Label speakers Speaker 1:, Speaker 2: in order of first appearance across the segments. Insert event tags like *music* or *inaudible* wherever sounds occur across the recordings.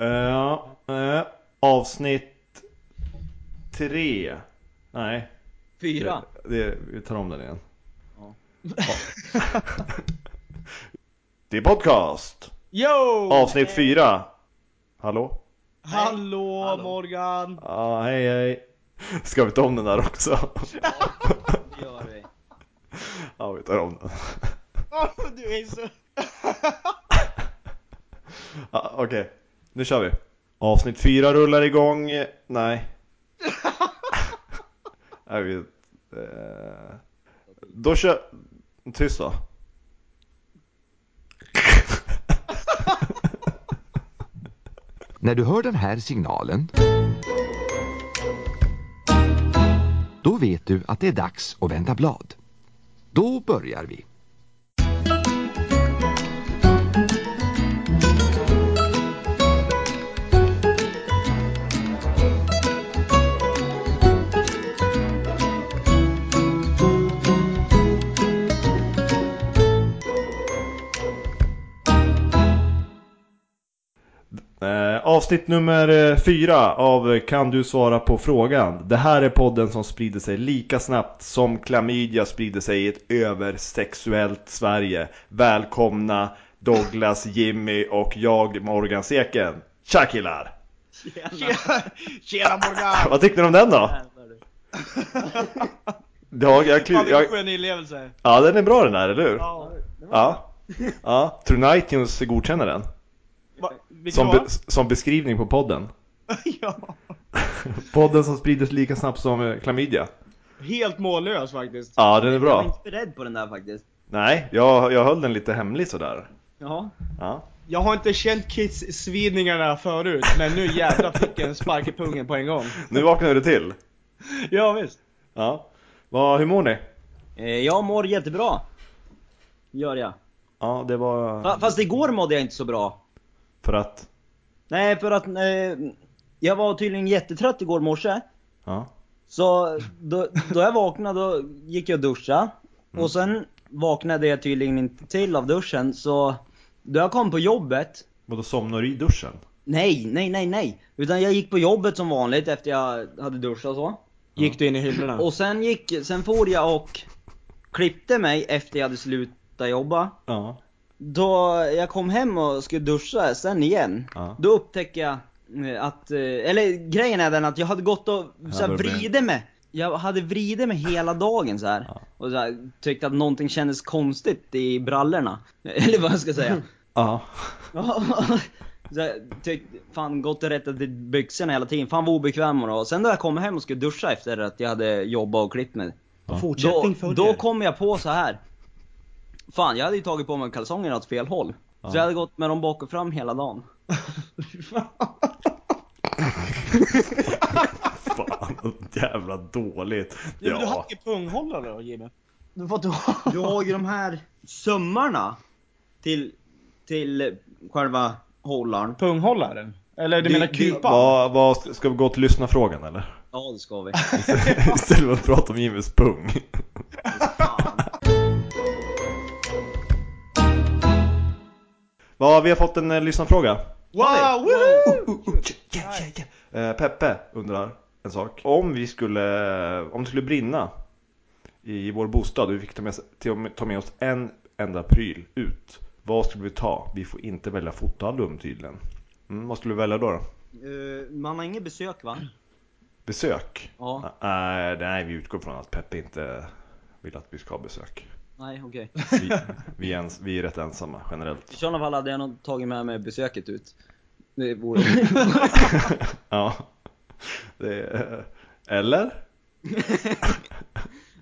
Speaker 1: Eh, avsnitt tre. Nej,
Speaker 2: Fyra.
Speaker 1: det, det, vi tar om den igen.
Speaker 2: Ja.
Speaker 1: Ja. *laughs* det är podcast!
Speaker 2: Yo!
Speaker 1: Avsnitt fyra. Hallå?
Speaker 2: Hallå,
Speaker 3: Hallå.
Speaker 2: Morgan!
Speaker 1: Ja, hej hej. Ska vi ta om den där också?
Speaker 2: Det gör vi.
Speaker 1: ja, vi tar om den.
Speaker 3: du är så...
Speaker 1: Ja, Okej, nu kör vi. Avsnitt fyra rullar igång. Nej. *laughs* Jag vet. eh, Då kör... Tyst då.
Speaker 4: När du hör den här signalen då vet du att det är dags att vända blad. Då börjar vi.
Speaker 1: Eh, avsnitt nummer eh, fyra av eh, Kan du svara på frågan? Det här är podden som sprider sig lika snabbt som klamydia sprider sig i ett översexuellt Sverige. Välkomna Douglas, Jimmy och jag, Morgan Seken. Tja killar!
Speaker 2: Tjena!
Speaker 3: Tjena, Tjena Morgan!
Speaker 1: Vad tyckte ni om den då? Jag, jag,
Speaker 3: Fan
Speaker 1: jag, jag,
Speaker 3: vilken skön inlevelse!
Speaker 1: ja, den är bra den här, eller hur?
Speaker 3: Ja.
Speaker 1: Ja. ja. Tror ni iTunes godkänner den?
Speaker 3: Va, vilken
Speaker 1: Som,
Speaker 3: var?
Speaker 1: be, som beskrivning på podden. *laughs*
Speaker 3: *laughs* ja.
Speaker 1: Podden som sprider sig lika snabbt som eh, klamydia.
Speaker 3: Helt mållös faktiskt.
Speaker 1: Ja, den är
Speaker 2: Jag var
Speaker 1: bra.
Speaker 2: inte beredd på den där faktiskt.
Speaker 1: Nej, jag, jag höll den lite hemlig sådär.
Speaker 2: Ja.
Speaker 1: Ja.
Speaker 3: Jag har inte känt kiss-svidningarna förut, men nu jävlar fick jag en spark i pungen på en gång.
Speaker 1: Nu vaknade du till.
Speaker 3: Ja visst.
Speaker 1: Ja. Vad, hur mår ni?
Speaker 2: Eh, Jag mår jättebra. Gör jag.
Speaker 1: Ja, det var
Speaker 2: Fa- Fast igår mådde jag inte så bra.
Speaker 1: för att...
Speaker 2: Nej, för att eh, jag var tydligen jättetrött igår morse.
Speaker 1: Ja.
Speaker 2: Så då, då jag vaknade då gick jag och duscha Och sen vaknade jag tydligen inte till av duschen så Då jag kom på jobbet
Speaker 1: Vadå, somnade du i duschen?
Speaker 2: Nej, nej, nej, nej! Utan jag gick på jobbet som vanligt efter jag hade duschat och så
Speaker 3: Gick du in i hyllorna? *laughs*
Speaker 2: Och sen gick, sen for jag och klippte mig efter jag hade slutat jobba
Speaker 1: Ja.
Speaker 2: Då jag kom hem och skulle duscha sen igen
Speaker 1: Ja.
Speaker 2: Då upptäckte jag eh, att, eh, eller grejen är den att jag hade gått och så här,
Speaker 1: hade du
Speaker 2: vridit mig Jag hade vridit mig hela dagen så här.
Speaker 1: Ja.
Speaker 2: Och så här, tyckte att någonting kändes konstigt i brallorna *laughs* Eller vad jag ska säga
Speaker 1: Ja. *laughs*
Speaker 2: Ja, *laughs* så här, tyckte, fan gått och rättat i byxorna hela tiden, fan vad obekväm man var. Sen när jag kom hem och skulle duscha efter att jag hade jobbat och klippt mig
Speaker 1: Ja.
Speaker 2: då, då kom jag på så här. Fan, jag hade ju tagit på mig kalsongerna åt fel håll.
Speaker 1: Ja.
Speaker 2: Så jag hade gått med dem bak och fram hela dagen.
Speaker 1: Fan, jävla dåligt.
Speaker 3: Ja, men du
Speaker 1: Ja.
Speaker 3: hade ju punghållare då Jimmy.
Speaker 2: Du, har ju de här sömmarna till, till själva hållaren.
Speaker 3: Punghållaren? Eller du
Speaker 1: Det-
Speaker 3: menar
Speaker 1: det-
Speaker 3: kupan?
Speaker 1: Vad, vad, ska vi gå till lyssna frågan eller? *laughs*
Speaker 2: Ja, det ska vi.
Speaker 1: Istället för att prata om Jimmys pung.
Speaker 2: Fan.
Speaker 1: Vad, vi har fått en eh, lyssnarfråga.
Speaker 3: Wow, woohoo!
Speaker 1: Eh, Peppe undrar en sak. Om vi skulle, om det skulle brinna i vår bostad och vi fick ta med, till- ta med oss en enda pryl ut. Vad skulle vi ta? Vi får inte välja fotoalbum tydligen. Mm, vad skulle vi välja då? då?
Speaker 2: Eh, man har inget besök va?
Speaker 1: Besök?
Speaker 2: Ja,
Speaker 1: Eh, nej, vi utgår från att Peppe inte vill att vi ska ha besök.
Speaker 2: nej okej.
Speaker 1: Vi, vi, är, ens, vi är rätt ensamma generellt.
Speaker 2: I sådana fall hade jag nog tagit med mig besöket ut. *laughs* Det vore...
Speaker 1: Ja. Det, är- eller?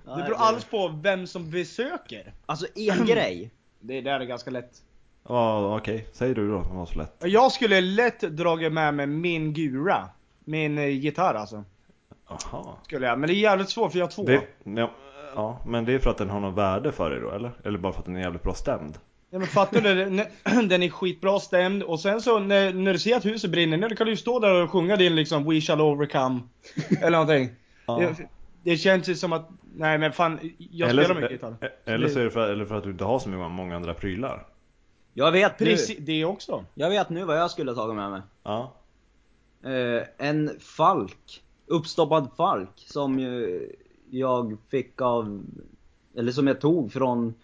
Speaker 3: Det beror alls på vem som besöker.
Speaker 2: Alltså en grej.
Speaker 3: Det där är ganska lätt.
Speaker 1: Ja, okej. Säg du då, det var så lätt.
Speaker 3: Jag skulle lätt dragit med mig min gura. Min eh, gitarr alltså.
Speaker 1: Aha.
Speaker 3: Skulle jag. Men det är jävligt svårt för jag har två.
Speaker 1: Det, ja, ja, men det är för att den har något värde för dig då eller? Eller bara för att den är jävligt bra stämd?
Speaker 3: Ja, men fattar du? det? När- Den är *clears throat* skitbra stämd och sen så när, när du ser att huset brinner ner, då kan du ju stå där och sjunga din liksom We
Speaker 1: *laughs*
Speaker 3: shall overcome. Eller någonting.
Speaker 1: Ja.
Speaker 3: Det, det känns ju som att, nej men fan, jag
Speaker 1: eller,
Speaker 3: spelar mycket gitarr.
Speaker 1: eh, Eller så är det för, eller för att du inte har så många, många andra prylar.
Speaker 2: Jag vet nu.
Speaker 3: Precis, det också.
Speaker 2: Jag vet nu vad jag skulle ha tagit med mig.
Speaker 1: Ja.
Speaker 2: eh, en falk. Uppstoppad falk som ju jag fick av, eller som jag tog från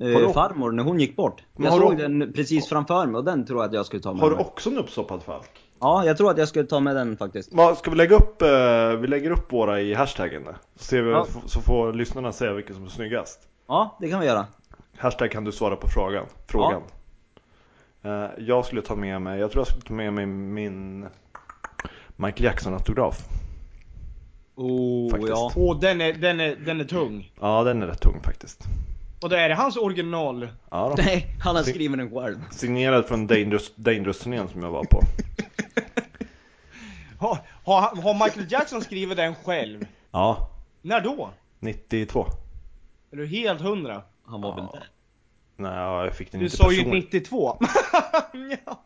Speaker 1: Har du-
Speaker 2: eh, farmor när hon gick bort.
Speaker 1: Men
Speaker 2: Jag
Speaker 1: har
Speaker 2: såg
Speaker 1: du-
Speaker 2: den precis framför mig och den tror jag att jag skulle ta med
Speaker 1: Har du
Speaker 2: mig.
Speaker 1: också en uppstoppad falk?
Speaker 2: Ja, jag tror att jag skulle ta med den faktiskt.
Speaker 1: Vad, Ska vi lägga upp, eh, vi lägger upp våra i hashtaggen där. Så, ser vi,
Speaker 2: Ja.
Speaker 1: f- så får lyssnarna säga vilken som är snyggast.
Speaker 2: Ja, det kan vi göra.
Speaker 1: Hashtag kan du svara på frågan. frågan. Eh, Jag skulle ta med mig, jag tror jag skulle ta med mig min Michael Jackson-autograf.
Speaker 2: Oh,
Speaker 1: Faktiskt.
Speaker 2: ja.
Speaker 3: Och den är, den, är, den är tung.
Speaker 1: Ja, den är rätt tung faktiskt.
Speaker 3: Och då är det hans original.
Speaker 1: Ja, då.
Speaker 2: *laughs* Nej, han har skrivit den själv.
Speaker 1: Signerad från Dangerous- Dangerous-turnén som jag var på.
Speaker 3: Har, har, han- har Michael Jackson skrivit den själv?
Speaker 1: Ja,
Speaker 3: När då?
Speaker 1: 92.
Speaker 3: Är du helt hundra?
Speaker 2: Han var väl
Speaker 1: Ja.
Speaker 2: där.
Speaker 1: Nej, jag fick den
Speaker 3: Du
Speaker 1: inte
Speaker 3: sa ju
Speaker 1: personligen.
Speaker 3: 92. *laughs* ja,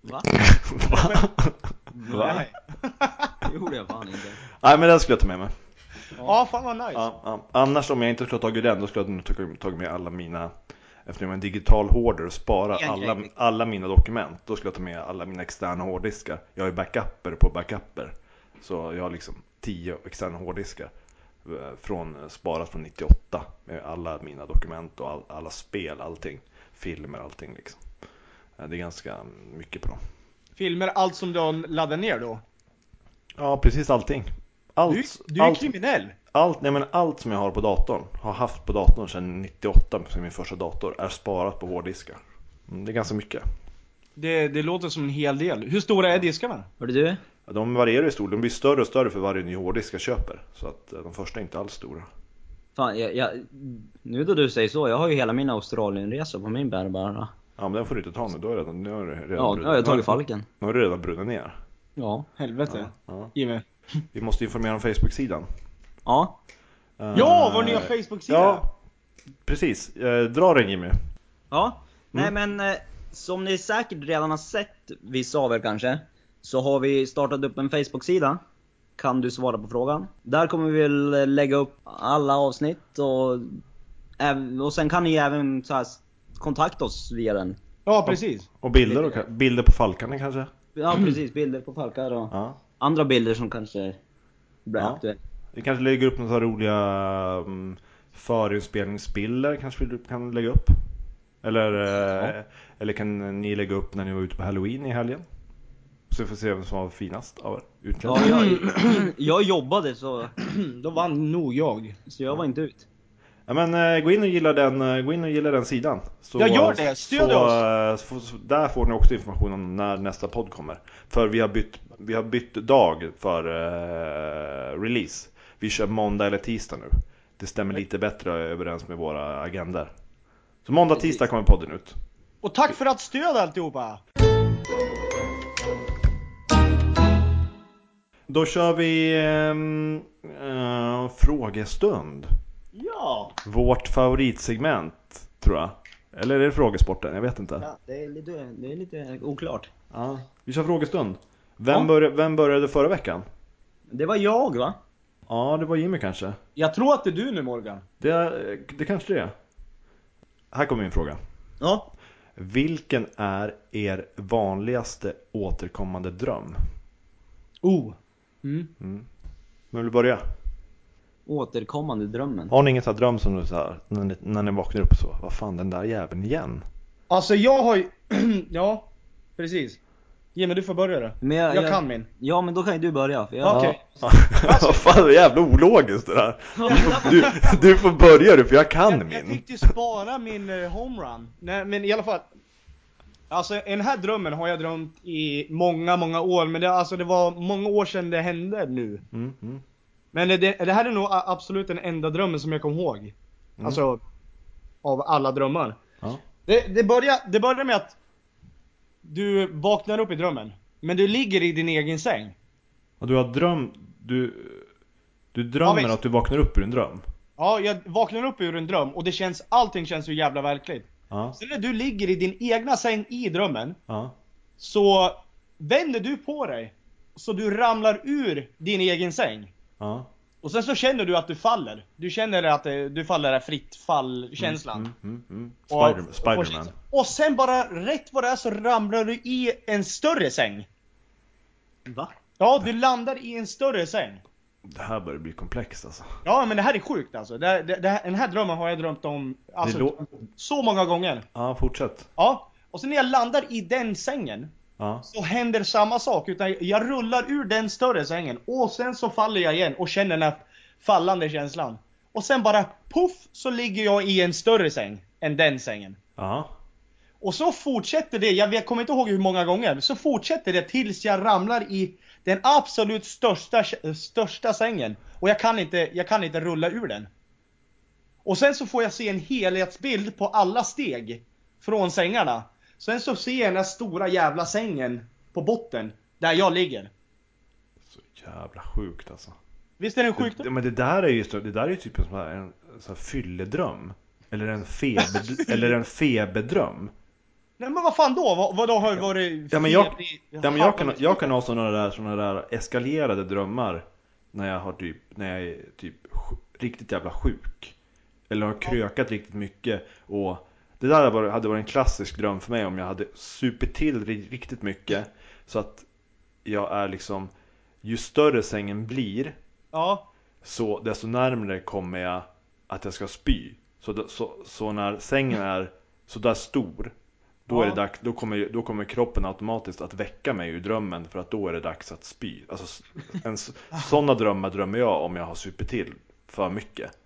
Speaker 2: Va?
Speaker 1: Va?
Speaker 3: nej.
Speaker 2: *laughs* Det gjorde jag fan inte.
Speaker 1: *laughs* Nej, men den skulle jag ta med mig.
Speaker 3: ja, fan vad nice.
Speaker 1: Ja, ja. Annars om jag inte skulle ha tagit den, då skulle jag nog tagit- tagit med alla mina Eftersom jag är en digital hoarder och sparar
Speaker 2: En grej
Speaker 1: alla,
Speaker 2: fick.
Speaker 1: alla mina dokument, då skulle jag ta med alla mina externa hårddiskar. Jag har ju backupper på backupper. Så jag har liksom 10 externa hårddiskar. eh, Från, sparat från 98 med alla mina dokument och all, alla spel, allting. Filmer, allting liksom. Eh, Det är ganska mycket på dem.
Speaker 3: Filmer, allt som du laddar ner då.
Speaker 1: Ja, precis allting. Allt,
Speaker 3: Du, du är ju
Speaker 1: allt,
Speaker 3: kriminell.
Speaker 1: Allt, nej men allt som jag har på datorn, har haft på datorn sedan 98, som min första dator, är sparat på hårddiskar. Mm, Det är ganska mycket.
Speaker 3: Det, det låter som en hel del. Hur stora är diskarna?
Speaker 2: Hörde du?
Speaker 1: De varierar i storlek, de blir större och större för varje ny hårddisk jag köper. Så att eh, de första är inte alls stora.
Speaker 2: Fan, jag, jag, nu då du säger så, jag har ju hela min Australienresa på min bärbara.
Speaker 1: Ja men den får du inte ta nu, då är redan, nu har du redan
Speaker 2: Ja, nu har jag tagit falken.
Speaker 1: Nu har du redan brunnit ner.
Speaker 2: Ja.
Speaker 3: Helvete.
Speaker 1: Ja.
Speaker 3: Jimmy.
Speaker 1: Vi måste informera om Facebook-sidan.
Speaker 2: Ja.
Speaker 3: Ja,
Speaker 1: Eh,
Speaker 3: vår nya Facebook-sida!
Speaker 1: Ja, precis. Eh, dra den Jimmy.
Speaker 2: Ja. Nej men, eh, som ni säkert redan har sett, vissa av er kanske, så har vi startat upp en Facebook-sida. Kan du svara på frågan? Där kommer vi väl eh, lägga upp alla avsnitt och, även- och sen kan ni även så här, kontakta oss via den.
Speaker 3: Ja, precis.
Speaker 1: Och bilder, och, bilder på falkarna kanske?
Speaker 2: *clears throat* Ja precis, bilder på falkar och
Speaker 1: Ja.
Speaker 2: andra bilder som kanske blir
Speaker 1: Ja.
Speaker 2: aktuella.
Speaker 1: Vi kanske lägger upp några roliga um, förinspelningsbilder kanske vi kan lägga upp. Eller, eh, eller kan ni lägga upp när ni var ute på halloween i helgen? Så vi får se vem som var finast av er.
Speaker 2: Ja,
Speaker 1: Utländskt.
Speaker 2: jag, *clears throat* jag jobbade så,
Speaker 3: *clears throat* Då vann nog jag.
Speaker 2: så jag var inte ut.
Speaker 1: Ja, men eh, gå in och gilla den, eh, gå in och gilla den sidan. Så,
Speaker 3: Ja, gör det. Stöd
Speaker 1: så,
Speaker 3: oss.
Speaker 1: eh, Så, så, där får ni också information om när nästa podd kommer. För vi har bytt, vi har bytt dag för eh, release. Vi kör måndag eller tisdag nu. Det stämmer lite bättre överens med våra agender. Så måndag,
Speaker 2: Precis.
Speaker 1: tisdag kommer podden ut.
Speaker 3: Och tack för att stöd alltihopa!
Speaker 1: Då kör vi ehm, eh, frågestund.
Speaker 3: Ja!
Speaker 1: Vårt favoritsegment, tror jag. Eller är det frågesporten? Jag vet inte.
Speaker 2: Ja, det, är lite, det är lite oklart.
Speaker 1: Ja, vi kör frågestund. Vem,
Speaker 2: Ja.
Speaker 1: börja- vem började förra veckan?
Speaker 2: Det var jag va?
Speaker 1: Ja, det var Jimmy kanske.
Speaker 3: Jag tror att det är du nu Morgan.
Speaker 1: Det, det kanske det är. Här kommer min fråga.
Speaker 2: Ja.
Speaker 1: Vilken är er vanligaste återkommande dröm?
Speaker 3: Oh. Mm.
Speaker 1: Men vill du börja?
Speaker 2: Återkommande drömmen.
Speaker 1: Har ni ingen sån här dröm som du så här, när, ni, när ni vaknar upp så, vad fan den där jäveln igen?
Speaker 3: Alltså jag har ju... *clears throat* ja, precis. Jimmy du får börja då.
Speaker 2: Men
Speaker 3: Jag, kan min.
Speaker 2: Ja men då kan ju du börja. För jag,
Speaker 3: Ja. Okej.
Speaker 1: Ja. *laughs* Vad fan, det är jävla ologiskt det där. Du, du får börja du, för jag kan
Speaker 3: Jag, jag
Speaker 1: min.
Speaker 3: tänkte ju spara min eh, homerun. Nej men i alla fall. Alltså den här drömmen har jag drömt i många, många år. Men det, alltså, det var många år sedan det hände nu.
Speaker 1: Mm, mm.
Speaker 3: Men det, det här är nog a- absolut den enda drömmen som jag kom ihåg. Alltså, av alla drömmar.
Speaker 1: Mm. Ja.
Speaker 3: Det, det, börjar, det börjar med att du vaknar upp i drömmen. Men du ligger i din egen säng.
Speaker 1: Och du har dröm, du, du drömmer
Speaker 3: visst.
Speaker 1: att du vaknar upp ur en dröm?
Speaker 3: Ja, jag vaknar upp ur en dröm och det känns, allting känns så jävla verkligt.
Speaker 1: Ja,
Speaker 3: Sen när du ligger i din egna säng i drömmen,
Speaker 1: ja.
Speaker 3: så vänder du på dig. Så du ramlar ur din egen säng.
Speaker 1: Ja.
Speaker 3: Och sen så känner du att du faller. Du känner att eh, du faller där fritt fall-känslan.
Speaker 1: Mm, mm, mm.
Speaker 3: Och-
Speaker 1: Spider, Spiderman.
Speaker 3: Och, och sen bara rätt vad det är så ramlar du i en större säng.
Speaker 2: Va?
Speaker 3: Ja, du landar i en större säng.
Speaker 1: Det här börjar bli komplext alltså.
Speaker 3: Ja, men det här är sjukt alltså. Det, det, det, här- den här drömmen har jag drömt om alltså,
Speaker 1: Det lå-
Speaker 3: så många gånger.
Speaker 1: Ja, fortsätt.
Speaker 3: Ja, och sen när jag landar i den sängen
Speaker 1: Ja.
Speaker 3: så händer samma sak. Utan jag rullar ur den större sängen och sen så faller jag igen och känner den här fallande känslan. Och sen bara puff så ligger jag i en större säng än den sängen.
Speaker 1: Ja.
Speaker 3: Och så fortsätter det, jag vet- kommer inte ihåg hur många gånger, så fortsätter det tills jag ramlar i den absolut största, största sängen. Och jag kan, inte, jag kan inte rulla ur den. Och sen så får jag se en helhetsbild på alla steg från sängarna. Sen så ser jag den här stora jävla sängen på botten, där jag ligger.
Speaker 1: Så jävla sjukt alltså.
Speaker 3: Visst är den sjukt?
Speaker 1: Det, men det där är ju, stö- det där är ju typ en sån här, en, sån här fylledröm. Eller en,
Speaker 3: *laughs*
Speaker 1: febed, eller en feberdröm.
Speaker 3: Nej men vad fan då? Vad, vad då har det varit?
Speaker 1: Ja, men jag,
Speaker 3: fel i-
Speaker 1: ja, men jag, kan, jag kan ha sådana där, såna där eskalerade drömmar när jag, har typ, när jag är typ sj- riktigt jävla sjuk. Eller har krökat riktigt mycket. Och det där var- hade varit en klassisk dröm för mig om jag hade supit till ri- riktigt mycket. Så att jag är liksom, ju större sängen blir,
Speaker 3: Ja.
Speaker 1: så desto närmre kommer jag att jag ska spy. Så, så, så när sängen är sådär stor, då, är det
Speaker 3: Ja.
Speaker 1: dags, då, kommer, då kommer kroppen automatiskt att väcka mig ur drömmen för att då är det dags att spy. Alltså, s- en, s- sådana drömmar drömmer jag om jag har supit till för mycket.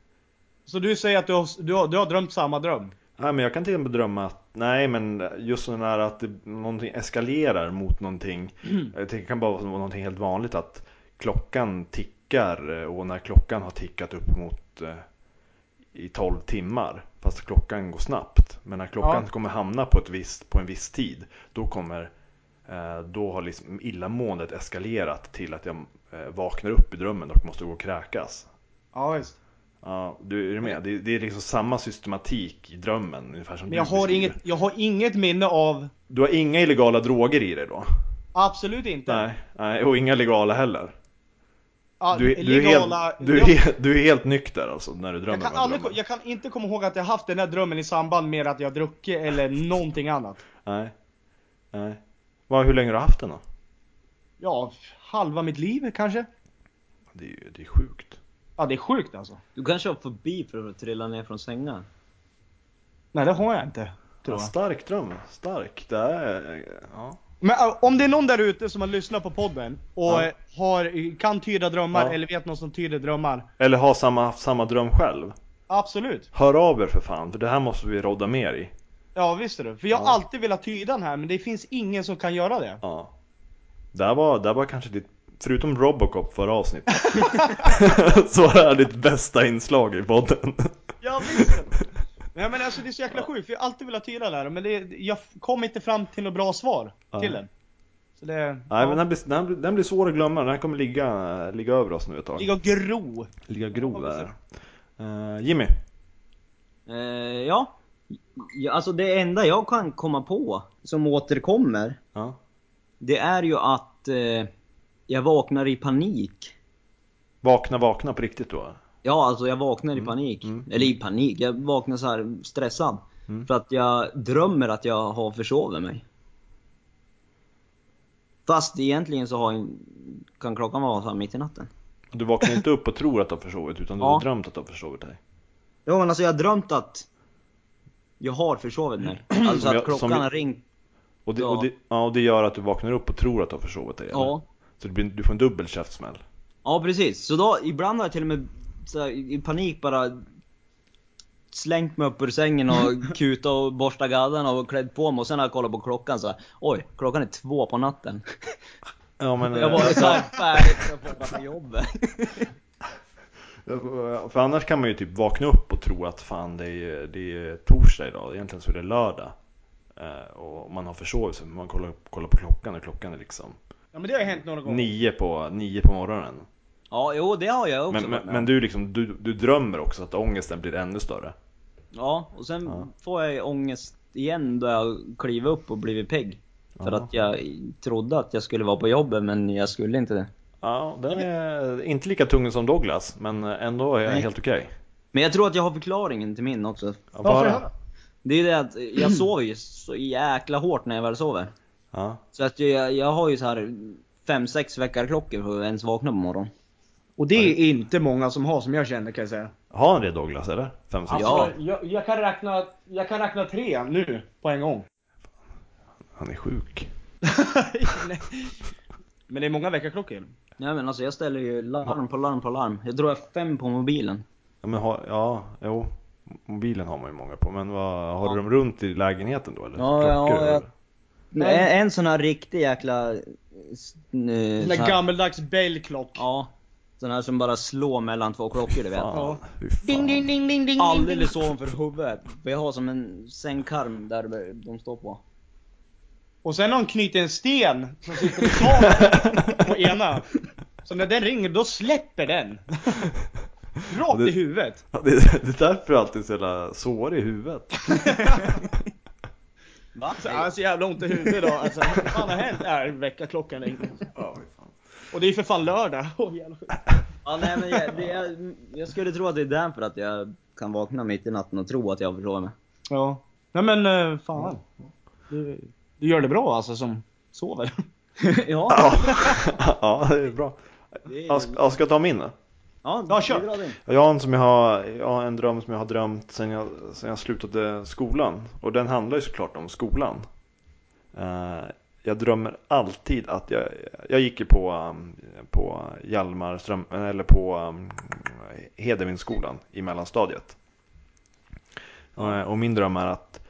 Speaker 3: Så du säger att du har, du har, du har drömt samma dröm?
Speaker 1: Nej men jag kan till och med drömma att, nej men just sån här att det, någonting eskalerar mot någonting. Jag tänker, Det kan bara vara någonting helt vanligt att klockan tickar eh, och när klockan har tickat upp mot eh, i 12 timmar. Fast klockan går snabbt. Men när klockan
Speaker 3: Ja.
Speaker 1: kommer hamna på, ett visst, på en viss tid då kommer eh, då har liksom illamåendet eskalerat till att jag eh, vaknar upp i drömmen och måste gå och kräkas.
Speaker 3: Ja visst.
Speaker 1: Ja, du är du med? Det, det är liksom samma systematik i drömmen ungefär som
Speaker 3: Men
Speaker 1: du
Speaker 3: jag har,
Speaker 1: beskriver.
Speaker 3: inget, jag har inget minne av...
Speaker 1: Du har inga illegala droger i dig då?
Speaker 3: Absolut inte.
Speaker 1: Nej, nej och inga legala heller.
Speaker 3: Ja,
Speaker 1: Du, är- du, är
Speaker 3: Ah, legala-
Speaker 1: helt, du, är,
Speaker 3: jag,
Speaker 1: helt- du är helt nykter alltså när du drömmer
Speaker 3: jag, kan
Speaker 1: de här
Speaker 3: aldrig,
Speaker 1: drömmarna.
Speaker 3: jag kan inte komma ihåg att jag haft den här drömmen i samband med att jag druckit eller någonting annat.
Speaker 1: Nej, nej. Vad, hur länge har du haft den då?
Speaker 3: Ja, halva mitt liv kanske?
Speaker 1: Det är, ju- det är sjukt.
Speaker 3: Ja, det är sjukt alltså.
Speaker 2: Du kanske har fobi för att trilla ner från sängar?
Speaker 3: Nej, det har jag inte. Tror
Speaker 1: Ja,
Speaker 3: jag.
Speaker 1: stark dröm, stark. Det är, ja.
Speaker 3: Men äh, om det är någon där ute som har lyssnat på podden och
Speaker 1: Ja.
Speaker 3: eh, har, kan tyda drömmar
Speaker 1: Ja.
Speaker 3: eller vet någon som tyder drömmar.
Speaker 1: Eller har samma, haft samma dröm själv.
Speaker 3: Absolut.
Speaker 1: Hör av er för fan, för det här måste vi rodda mer i.
Speaker 3: Ja, visst är det. För jag har
Speaker 1: Ja.
Speaker 3: alltid velat tyda den här men det finns ingen som kan göra det.
Speaker 1: Ja. Där var, där var kanske ditt, förutom Robocop förra avsnittet, så är ditt bästa inslag i podden.
Speaker 3: Ja visst. *laughs* Nej men alltså det är så jäkla sjukt, för jag har alltid velat tyda det här men det, jag kom inte fram till något bra svar
Speaker 1: Ja.
Speaker 3: till den. Så det,
Speaker 1: Nej
Speaker 3: ja,
Speaker 1: men den blir, den, blir, den blir svår att glömma, den här kommer ligga, ligga över oss nu ett tag.
Speaker 3: ligga och gro.
Speaker 1: Ligga grov där. Eh, Jimmy,
Speaker 2: Eh, ja. ja. Alltså det enda jag kan komma på som återkommer,
Speaker 1: ja.
Speaker 2: det är ju att eh, jag vaknar i panik.
Speaker 1: vakna vakna på riktigt då.
Speaker 2: Ja, alltså jag vaknar i panik.
Speaker 1: mm.
Speaker 2: Eller i panik, jag vaknar så här stressad.
Speaker 1: Mm.
Speaker 2: För att jag drömmer att jag har försovit mig. Fast egentligen så har jag, kan klockan vara så här mitt i natten.
Speaker 1: Du vaknar inte upp och tror att du har försovit utan du
Speaker 2: Ja.
Speaker 1: har drömt att du har försovit dig.
Speaker 2: Ja men alltså jag har drömt att jag har
Speaker 1: *clears throat*
Speaker 2: försovit mig. Alltså
Speaker 1: Som jag-
Speaker 2: att klockan
Speaker 1: som jag-
Speaker 2: har ringt.
Speaker 1: Och det,
Speaker 2: Ja.
Speaker 1: och, det, ja, och det gör att du vaknar upp och tror att du har försovit dig. eller?
Speaker 2: Ja.
Speaker 1: Så det blir, du får en dubbel käftsmäll.
Speaker 2: Ja precis. Så då, ibland har jag till och med så här, i panik bara slängt mig upp ur sängen och kutat och borstat gaddarna och klätt på mig och sen har jag kollat på klockan så här. Oj, klockan är två på natten.
Speaker 1: Ja men...
Speaker 2: Jag var så här färdig så jag får bara till jobbet. *laughs*
Speaker 1: För annars kan man ju typ vakna upp och tro att fan det är, det är torsdag idag, egentligen så är det lördag. Eh, Och man har försovit sig, men man kollar, kollar på klockan och klockan är liksom
Speaker 3: Ja men det har ju hänt några gånger.
Speaker 1: nio på, nio på morgonen.
Speaker 2: Ja, jo det har jag också
Speaker 1: Men,
Speaker 2: varit
Speaker 1: men,
Speaker 2: med
Speaker 1: men
Speaker 2: om.
Speaker 1: du, liksom, du, du drömmer också att ångesten blir ännu större.
Speaker 2: Ja, och sen
Speaker 1: Ja.
Speaker 2: får jag ångest igen då jag kliver upp och blivit pigg. För
Speaker 1: Ja.
Speaker 2: att jag trodde att jag skulle vara på jobbet men jag skulle inte det.
Speaker 1: Ja, den är inte lika tung som Douglas, men ändå är
Speaker 2: Nej.
Speaker 1: helt okej.
Speaker 2: Men jag tror att jag har förklaringen till min också.
Speaker 1: Ja,
Speaker 3: Ja, får jag
Speaker 1: bara-
Speaker 3: höra?
Speaker 2: Det är det att
Speaker 3: Mm.
Speaker 2: jag sover ju så jäkla hårt när jag väl sover.
Speaker 1: Ja,
Speaker 2: Så att jag, jag har ju så här 5-6 väckarklockor för att ens vakna på morgonen.
Speaker 3: Och det är inte många som har som jag känner kan jag säga.
Speaker 1: Har han det Douglas eller? Fem, sex?
Speaker 2: Ja.
Speaker 3: jag, jag, kan räkna, jag kan räkna tre nu på en gång.
Speaker 1: Han är sjuk.
Speaker 3: *laughs* Nej. Men det är många väckarklockor.
Speaker 2: Nej men alltså jag ställer ju larm på larm på larm. Jag tror jag har fem på mobilen.
Speaker 1: Ja, men har, ja, jo. Mobilen har man ju många på, men vad, har du dem runt i lägenheten då eller?
Speaker 2: Ja, ja,
Speaker 1: Klockor,
Speaker 2: ja.
Speaker 1: eller?
Speaker 2: Men en, en sån här riktig jäkla... eh, s- eh,
Speaker 3: Den
Speaker 2: sån
Speaker 3: där
Speaker 2: här,
Speaker 3: gammeldags bellklock.
Speaker 2: ja. Sån här som bara slår mellan två klockor du vet.
Speaker 1: Fan,
Speaker 3: Ja.
Speaker 1: fy fan.
Speaker 3: ding, ding, ding,
Speaker 2: Alldeles ovanför huvudet. Vi har som en sängkarm där de står på.
Speaker 3: Och sen har han knutit en sten som sitter i *laughs* taket på ena. Så när den ringer, då släpper den. Rakt
Speaker 1: Det-
Speaker 3: i huvudet.
Speaker 1: Ja, det, det är därför jag alltid är så jävla sår i huvudet.
Speaker 2: Va?
Speaker 3: Så jag har så jävla ont i huvudet idag. Alltså, vad fan har hänt? Äh, väckarklockan ringde. Och det är ju för fan lördag. *laughs* Åh, jävla sjukt.
Speaker 2: Ja, nej, men jag, det, jag, jag skulle tro att det är därför att jag kan vakna mitt i natten och tro att jag förlorar mig.
Speaker 3: Ja. Nej men eh, fan. Du, du gör det bra alltså som *laughs* sover.
Speaker 2: ja,
Speaker 1: *laughs* ja, det är bra.
Speaker 2: det är,
Speaker 1: Ja, ska- ja, ska jag ta min då?
Speaker 2: ja,
Speaker 3: Ja,
Speaker 2: det
Speaker 3: kör.
Speaker 2: är bra det.
Speaker 1: Jag har en, som jag har, jag har en dröm som jag har drömt sen jag, sen jag slutade skolan. Och den handlar ju såklart om skolan. Eh, jag drömmer alltid att jag, jag gick ju på, um, på Hjalmarström, eller på um, Hedevindsskolan i mellanstadiet. Eh, och min dröm är att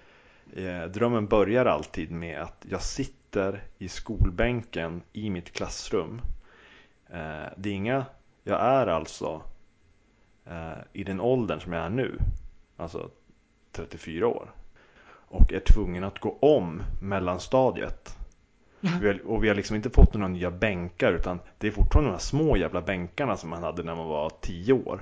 Speaker 1: eh, drömmen börjar alltid med att jag sitter i skolbänken i mitt klassrum. Eh, det är inga, jag är alltså eh, i den åldern som jag är nu, alltså 34 år, och är tvungen att gå om mellanstadiet. Vi har, och vi har liksom inte fått några nya bänkar utan det är fortfarande de här små jävla bänkarna som man hade när man var 10 år.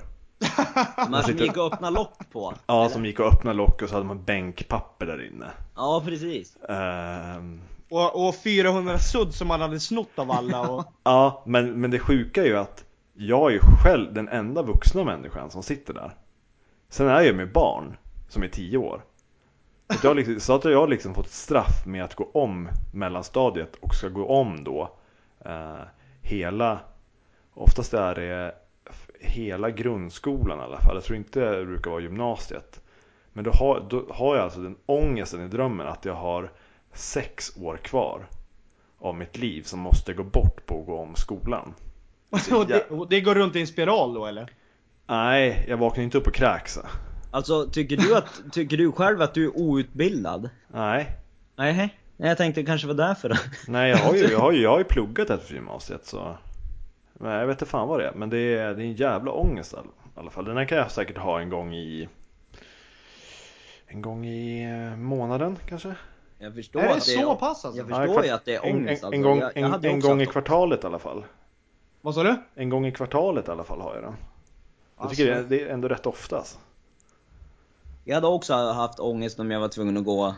Speaker 2: Man som gick och öppna lock på.
Speaker 1: Ja, som gick och öppnade lock och så hade man bänkpapper där inne.
Speaker 2: Ja, precis.
Speaker 1: Ehm,
Speaker 3: Och, och 400 sudd som man hade snott av alla. *laughs* Och,
Speaker 1: ja, men, men det sjuka är ju att jag är ju själv den enda vuxna människan som sitter där. Sen är jag med barn som är 10 år. Så att jag, liksom, så att jag har liksom fått ett straff med att gå om mellanstadiet och ska gå om då eh, hela, oftast är det f- hela grundskolan i alla fall. Jag tror inte det brukar vara gymnasiet. Men då har, då har jag alltså den ångesten i drömmen att jag har sex år kvar av mitt liv som måste gå bort på att gå om skolan.
Speaker 3: och, det, och det går runt i en spiral då eller?
Speaker 1: Nej, jag vaknar inte upp och kräks.
Speaker 2: Alltså, tycker du, att, tycker du själv att du är outbildad?
Speaker 1: Nej,
Speaker 2: Nej, hej. nej jag tänkte det kanske var därför. då.
Speaker 1: nej jag, har ju, jag, har ju, jag har ju pluggat efter gymnasiet så... Nej, jag vet inte fan vad det är, men det är, det är en jävla ångest i all- i alla fall. Den här kan jag säkert ha en gång i... En gång i eh, månaden kanske?
Speaker 2: Jag förstår
Speaker 3: Är det
Speaker 2: att det
Speaker 3: så pass alltså?
Speaker 2: Jag
Speaker 1: Ja,
Speaker 2: förstår
Speaker 1: kvart-
Speaker 2: ju att det är
Speaker 1: en-
Speaker 2: ångest
Speaker 1: En,
Speaker 2: alltså.
Speaker 1: en gång,
Speaker 2: jag, jag
Speaker 1: en,
Speaker 2: hade ju
Speaker 1: en
Speaker 2: också
Speaker 1: gång i
Speaker 2: haft-
Speaker 1: kvartalet i alla fall.
Speaker 3: Vad sa du?
Speaker 1: En gång i kvartalet i alla fall har jag den. Jag tycker
Speaker 3: Alltså.
Speaker 1: det, det är ändå rätt ofta alltså.
Speaker 2: Jag hade också haft ångest om jag var tvungen att gå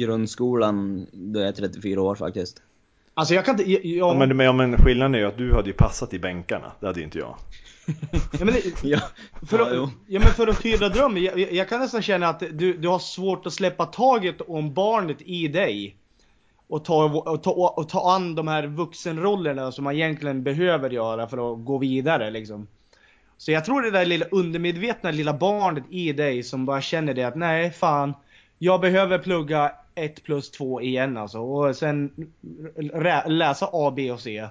Speaker 2: grundskolan då jag är 34 år faktiskt.
Speaker 3: Alltså jag kan inte... Jag, jag,
Speaker 1: Ja, men, men, men skillnaden är ju att du hade ju passat i bänkarna, det hade ju inte jag.
Speaker 3: ja, men det-
Speaker 2: *laughs* Ja,
Speaker 3: För
Speaker 2: ja, jo.
Speaker 3: att, ja, men för att tyda drömmen, jag, jag- jag kan nästan känna att du, du har svårt att släppa taget om barnet i dig. Och ta, och, ta, och ta an de här vuxenrollerna som man egentligen behöver göra för att gå vidare liksom. Så jag tror det där lilla undermedvetna lilla barnet i dig som bara känner det att nej fan, jag behöver plugga 1 plus 2 igen alltså. Och sen rä- läsa A, B och C.
Speaker 1: Det är, ju,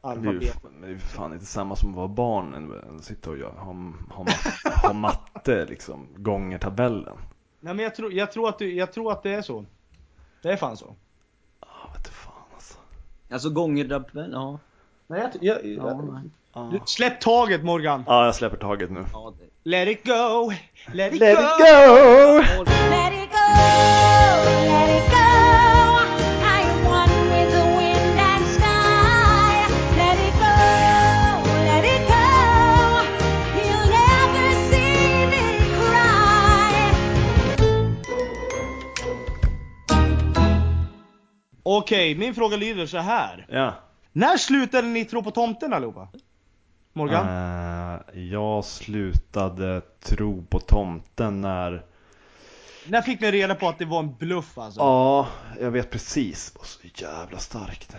Speaker 3: Alfabet.
Speaker 1: men det är ju fan inte samma som att vara barn än att sitta och göra, ha, ha, ma- *laughs* ha matte liksom, gånger tabellen.
Speaker 3: Nej men jag tror, jag, tror att du, jag tror att det är så. Det är fan så.
Speaker 1: Ah, vet du fan alltså.
Speaker 2: Alltså gånger rappen, ja.
Speaker 3: Nej, jag, jag,
Speaker 2: ja
Speaker 3: jag,
Speaker 2: nej.
Speaker 1: Ah.
Speaker 3: du, släpp taget Morgan!
Speaker 1: ah, jag släpper taget nu.
Speaker 2: Ja, det...
Speaker 3: Let it go! Let it
Speaker 1: Let
Speaker 3: go!
Speaker 1: it go!
Speaker 5: Let it go, let it go. I am one with the wind and sky. Let it go, let it go. You'll never see me cry.
Speaker 3: Okej, min fråga lyder så här.
Speaker 1: Ja.
Speaker 3: När slutade ni tro på tomten allihopa? Morgan?
Speaker 1: Eh, jag slutade tro på tomten när...
Speaker 3: När fick ni reda på att det var en bluff alltså?
Speaker 1: Ja, jag vet precis. Och så jävla starkt.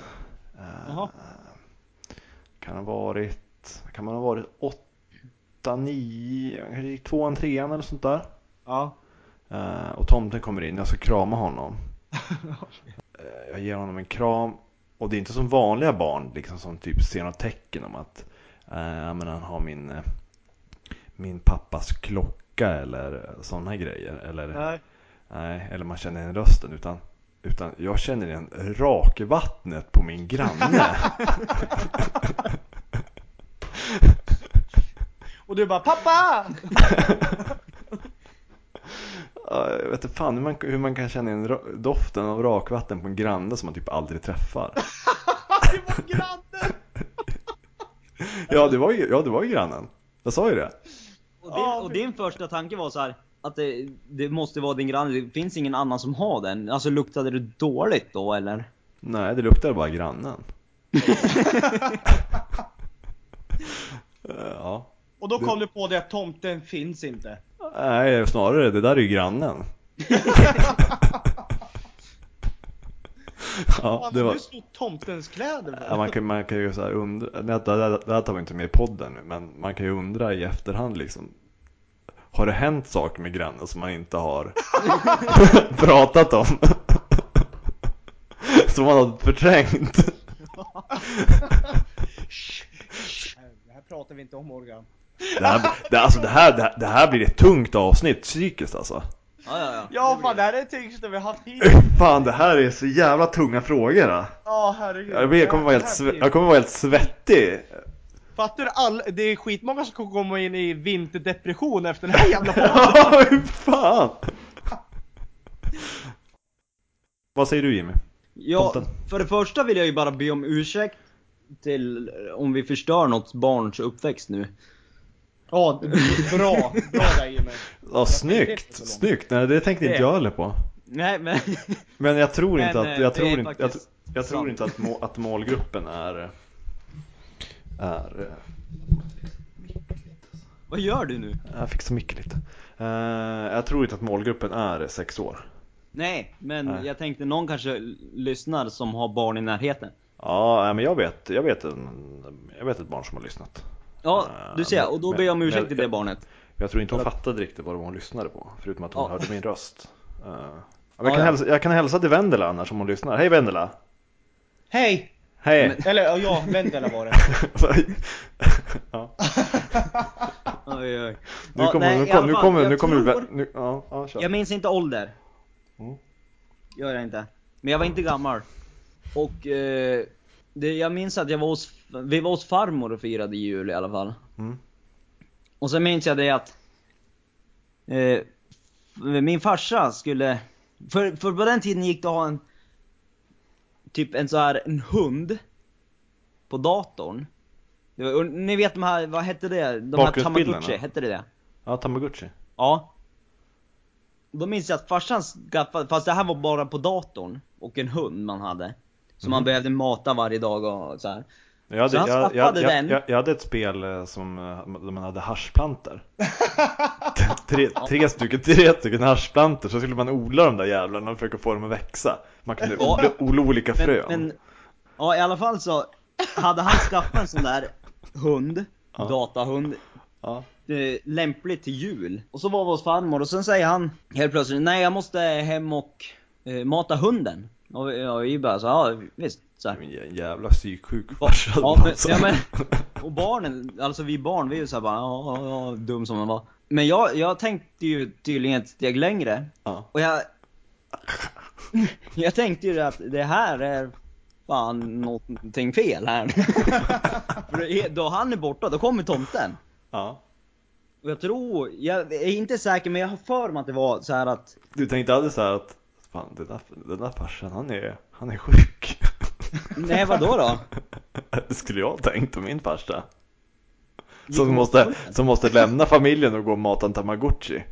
Speaker 3: Jaha.
Speaker 1: Eh, kan ha varit, kan man ha varit 8, 9, kanske tvåan, trean eller sånt där.
Speaker 3: Ja.
Speaker 1: Eh, och tomten kommer in, jag ska krama honom. Eh, jag ger honom en kram. Och det är inte som vanliga barn liksom, som typ ser något tecken om att eh, ja, men han har min, eh, min pappas klocka eller sådana grejer. Eller,
Speaker 3: Nej.
Speaker 1: Nej, eller man känner igen rösten utan, utan jag känner igen rakvattnet på min granne.
Speaker 3: Och du bara pappa! *laughs*
Speaker 1: Ja, jag vet inte fan hur man, hur man kan känna igen ra- doften av rakvatten på en granne som man typ aldrig träffar.
Speaker 3: Det var grannen!
Speaker 1: Ja, det var ju, ja, det var ju grannen. Jag sa ju det.
Speaker 2: Och din, och din första tanke var så här att det, det måste vara din granne, det finns ingen annan som har den. Alltså luktade det dåligt då eller?
Speaker 1: Nej, det luktade bara grannen. Eh, ja.
Speaker 3: Och då kom du på det att tomten finns inte.
Speaker 1: Nej, snarare det där är ju grannen. ja, det var...
Speaker 3: Du snott tomtens kläder.
Speaker 1: Ja, man, kan, man kan ju så här undra, nej, det, det, det här tar vi inte med i podden nu, men man kan ju undra i efterhand liksom Har det hänt saker med grannen som man inte har *laughs* pratat om? *laughs* som man har förträngt? *laughs*
Speaker 3: Shh, shh. Det här pratar vi inte om Morgan.
Speaker 1: Det här, det, alltså det här, det, här, det här blir ett tungt avsnitt psykiskt alltså
Speaker 2: Ja, ja, ja.
Speaker 3: Ja fan det här är det tyngsta vi har haft hittills.
Speaker 1: *laughs* Fan det här är så jävla tunga frågor då.
Speaker 3: Ja herregud.
Speaker 1: Jag, blir, jag, kommer vara helt, sve- jag kommer vara helt svettig *laughs*
Speaker 3: Fattar du all... Det är skitmånga som kommer komma in i vinterdepression efter den här *laughs* jävla podden.
Speaker 1: Ja, hur fan! Vad säger du Jimmy?
Speaker 2: ja
Speaker 1: Tomten.
Speaker 2: för det första vill jag ju bara be om ursäkt till om vi förstör något barns uppväxt nu.
Speaker 3: Ja, bra. Bra där Jimmy.
Speaker 1: Ja, snyggt! Snyggt! Nej, det tänkte inte jag heller på.
Speaker 2: Nej men,
Speaker 1: *laughs* Men jag tror
Speaker 2: Men,
Speaker 1: inte att,
Speaker 2: eh,
Speaker 1: jag
Speaker 2: det
Speaker 1: tror
Speaker 2: är
Speaker 1: inte, jag,
Speaker 2: faktiskt
Speaker 1: jag tror
Speaker 2: sant.
Speaker 1: inte att, må, att målgruppen är, är eh,
Speaker 2: vad gör du nu?
Speaker 1: jag fick så mycket lite. Eh, jag tror inte att målgruppen är sex år.
Speaker 2: Nej, men
Speaker 1: Nej.
Speaker 2: jag tänkte någon kanske l- lyssnar som har barn i närheten.
Speaker 1: Ja, nej, men jag vet, jag vet, en, jag vet ett barn som har lyssnat.
Speaker 2: Ja,
Speaker 1: Ah,
Speaker 2: du ser, och då
Speaker 1: men-
Speaker 2: ber jag om
Speaker 1: men-
Speaker 2: ursäkt till det barnet.
Speaker 1: Jag tror inte hon fattade riktigt vad det var hon lyssnade på, förutom att hon
Speaker 2: Ja.
Speaker 1: hörde min röst. Eh, men
Speaker 2: Ja,
Speaker 1: jag, kan
Speaker 2: ja.
Speaker 1: hälsa, jag kan hälsa till Vendela annars om hon lyssnar. Hej Vendela!
Speaker 3: Hej!
Speaker 1: Hej!
Speaker 3: Eller ja, ja, Vendela var det.
Speaker 1: *laughs* ja.
Speaker 2: Oj, oj.
Speaker 1: Nu
Speaker 2: Ja,
Speaker 1: kommer,
Speaker 2: nej,
Speaker 1: nu
Speaker 2: i alla
Speaker 1: kommer, nu
Speaker 2: fall,
Speaker 1: kommer,
Speaker 2: jag
Speaker 1: nu kommer,
Speaker 2: tror-
Speaker 1: nu nu, ja, ja, kör.
Speaker 2: Jag minns inte ålder.
Speaker 1: Mm.
Speaker 2: Gör jag inte. Men jag var inte gammal. Och eh, det, jag minns att jag var hos, vi var hos farmor och firade jul i alla fall.
Speaker 1: Mm.
Speaker 2: Och sen minns jag det att eh, min farsa skulle, för, för på den tiden gick det att ha en, typ en så här en hund på datorn. Det var, och ni vet de här, vad hette det? De här
Speaker 1: Bakgrundsbilderna.
Speaker 2: tamagotchi, hette det det?
Speaker 1: Ja, Tamagotchi.
Speaker 2: Ja. Då minns jag att farsan skaffade, fast det här var bara på datorn och en hund man hade. Som
Speaker 1: Mhm.
Speaker 2: man behövde mata varje dag och så här.
Speaker 1: Jag hade,
Speaker 2: Så han
Speaker 1: jag, jag,
Speaker 2: skaffade
Speaker 1: jag,
Speaker 2: den.
Speaker 1: jag, jag hade ett spel eh, som, eh, där man hade haschplanter. tre, tre, stycken, tre stycken haschplanter, så skulle man odla de där jävlarna och försöka få dem att växa. Man kunde
Speaker 2: Ja.
Speaker 1: odla, odla olika frön.
Speaker 2: ja i alla fall så hade han skaffat en sån där hund,
Speaker 1: Ja.
Speaker 2: datahund,
Speaker 1: Ja.
Speaker 2: eh, lämplig till jul. Och så var vi hos farmor och sen säger han helt plötsligt, nej jag måste hem och eh, mata hunden. Och jag är ju bara så ja visst. Så här.
Speaker 1: Min jä- jävla psyksjuk
Speaker 2: Ja,
Speaker 1: farsa.
Speaker 2: ja, men,
Speaker 1: alltså.
Speaker 2: ja, men, och barnen, alltså vi barn, vi är ju såhär bara ja, ja, ja, dum som man var. Men jag, jag tänkte ju tydligen ett steg längre.
Speaker 1: *laughs* Ja.
Speaker 2: Och jag... *laughs* Jag tänkte ju att det här är fan någonting fel här. *laughs* För det är- då han är borta, då kommer tomten.
Speaker 1: Ja.
Speaker 2: Och jag tror, jag är inte säker men jag har för mig att det var så här att
Speaker 1: Du tänkte aldrig så här att Fan, den där, den där farsan han är, han är sjuk. *laughs*
Speaker 2: Nej vadå då?
Speaker 1: Det skulle jag ha tänkt om min farsa. Som måste, som måste lämna familjen och gå och mata en tamagotchi.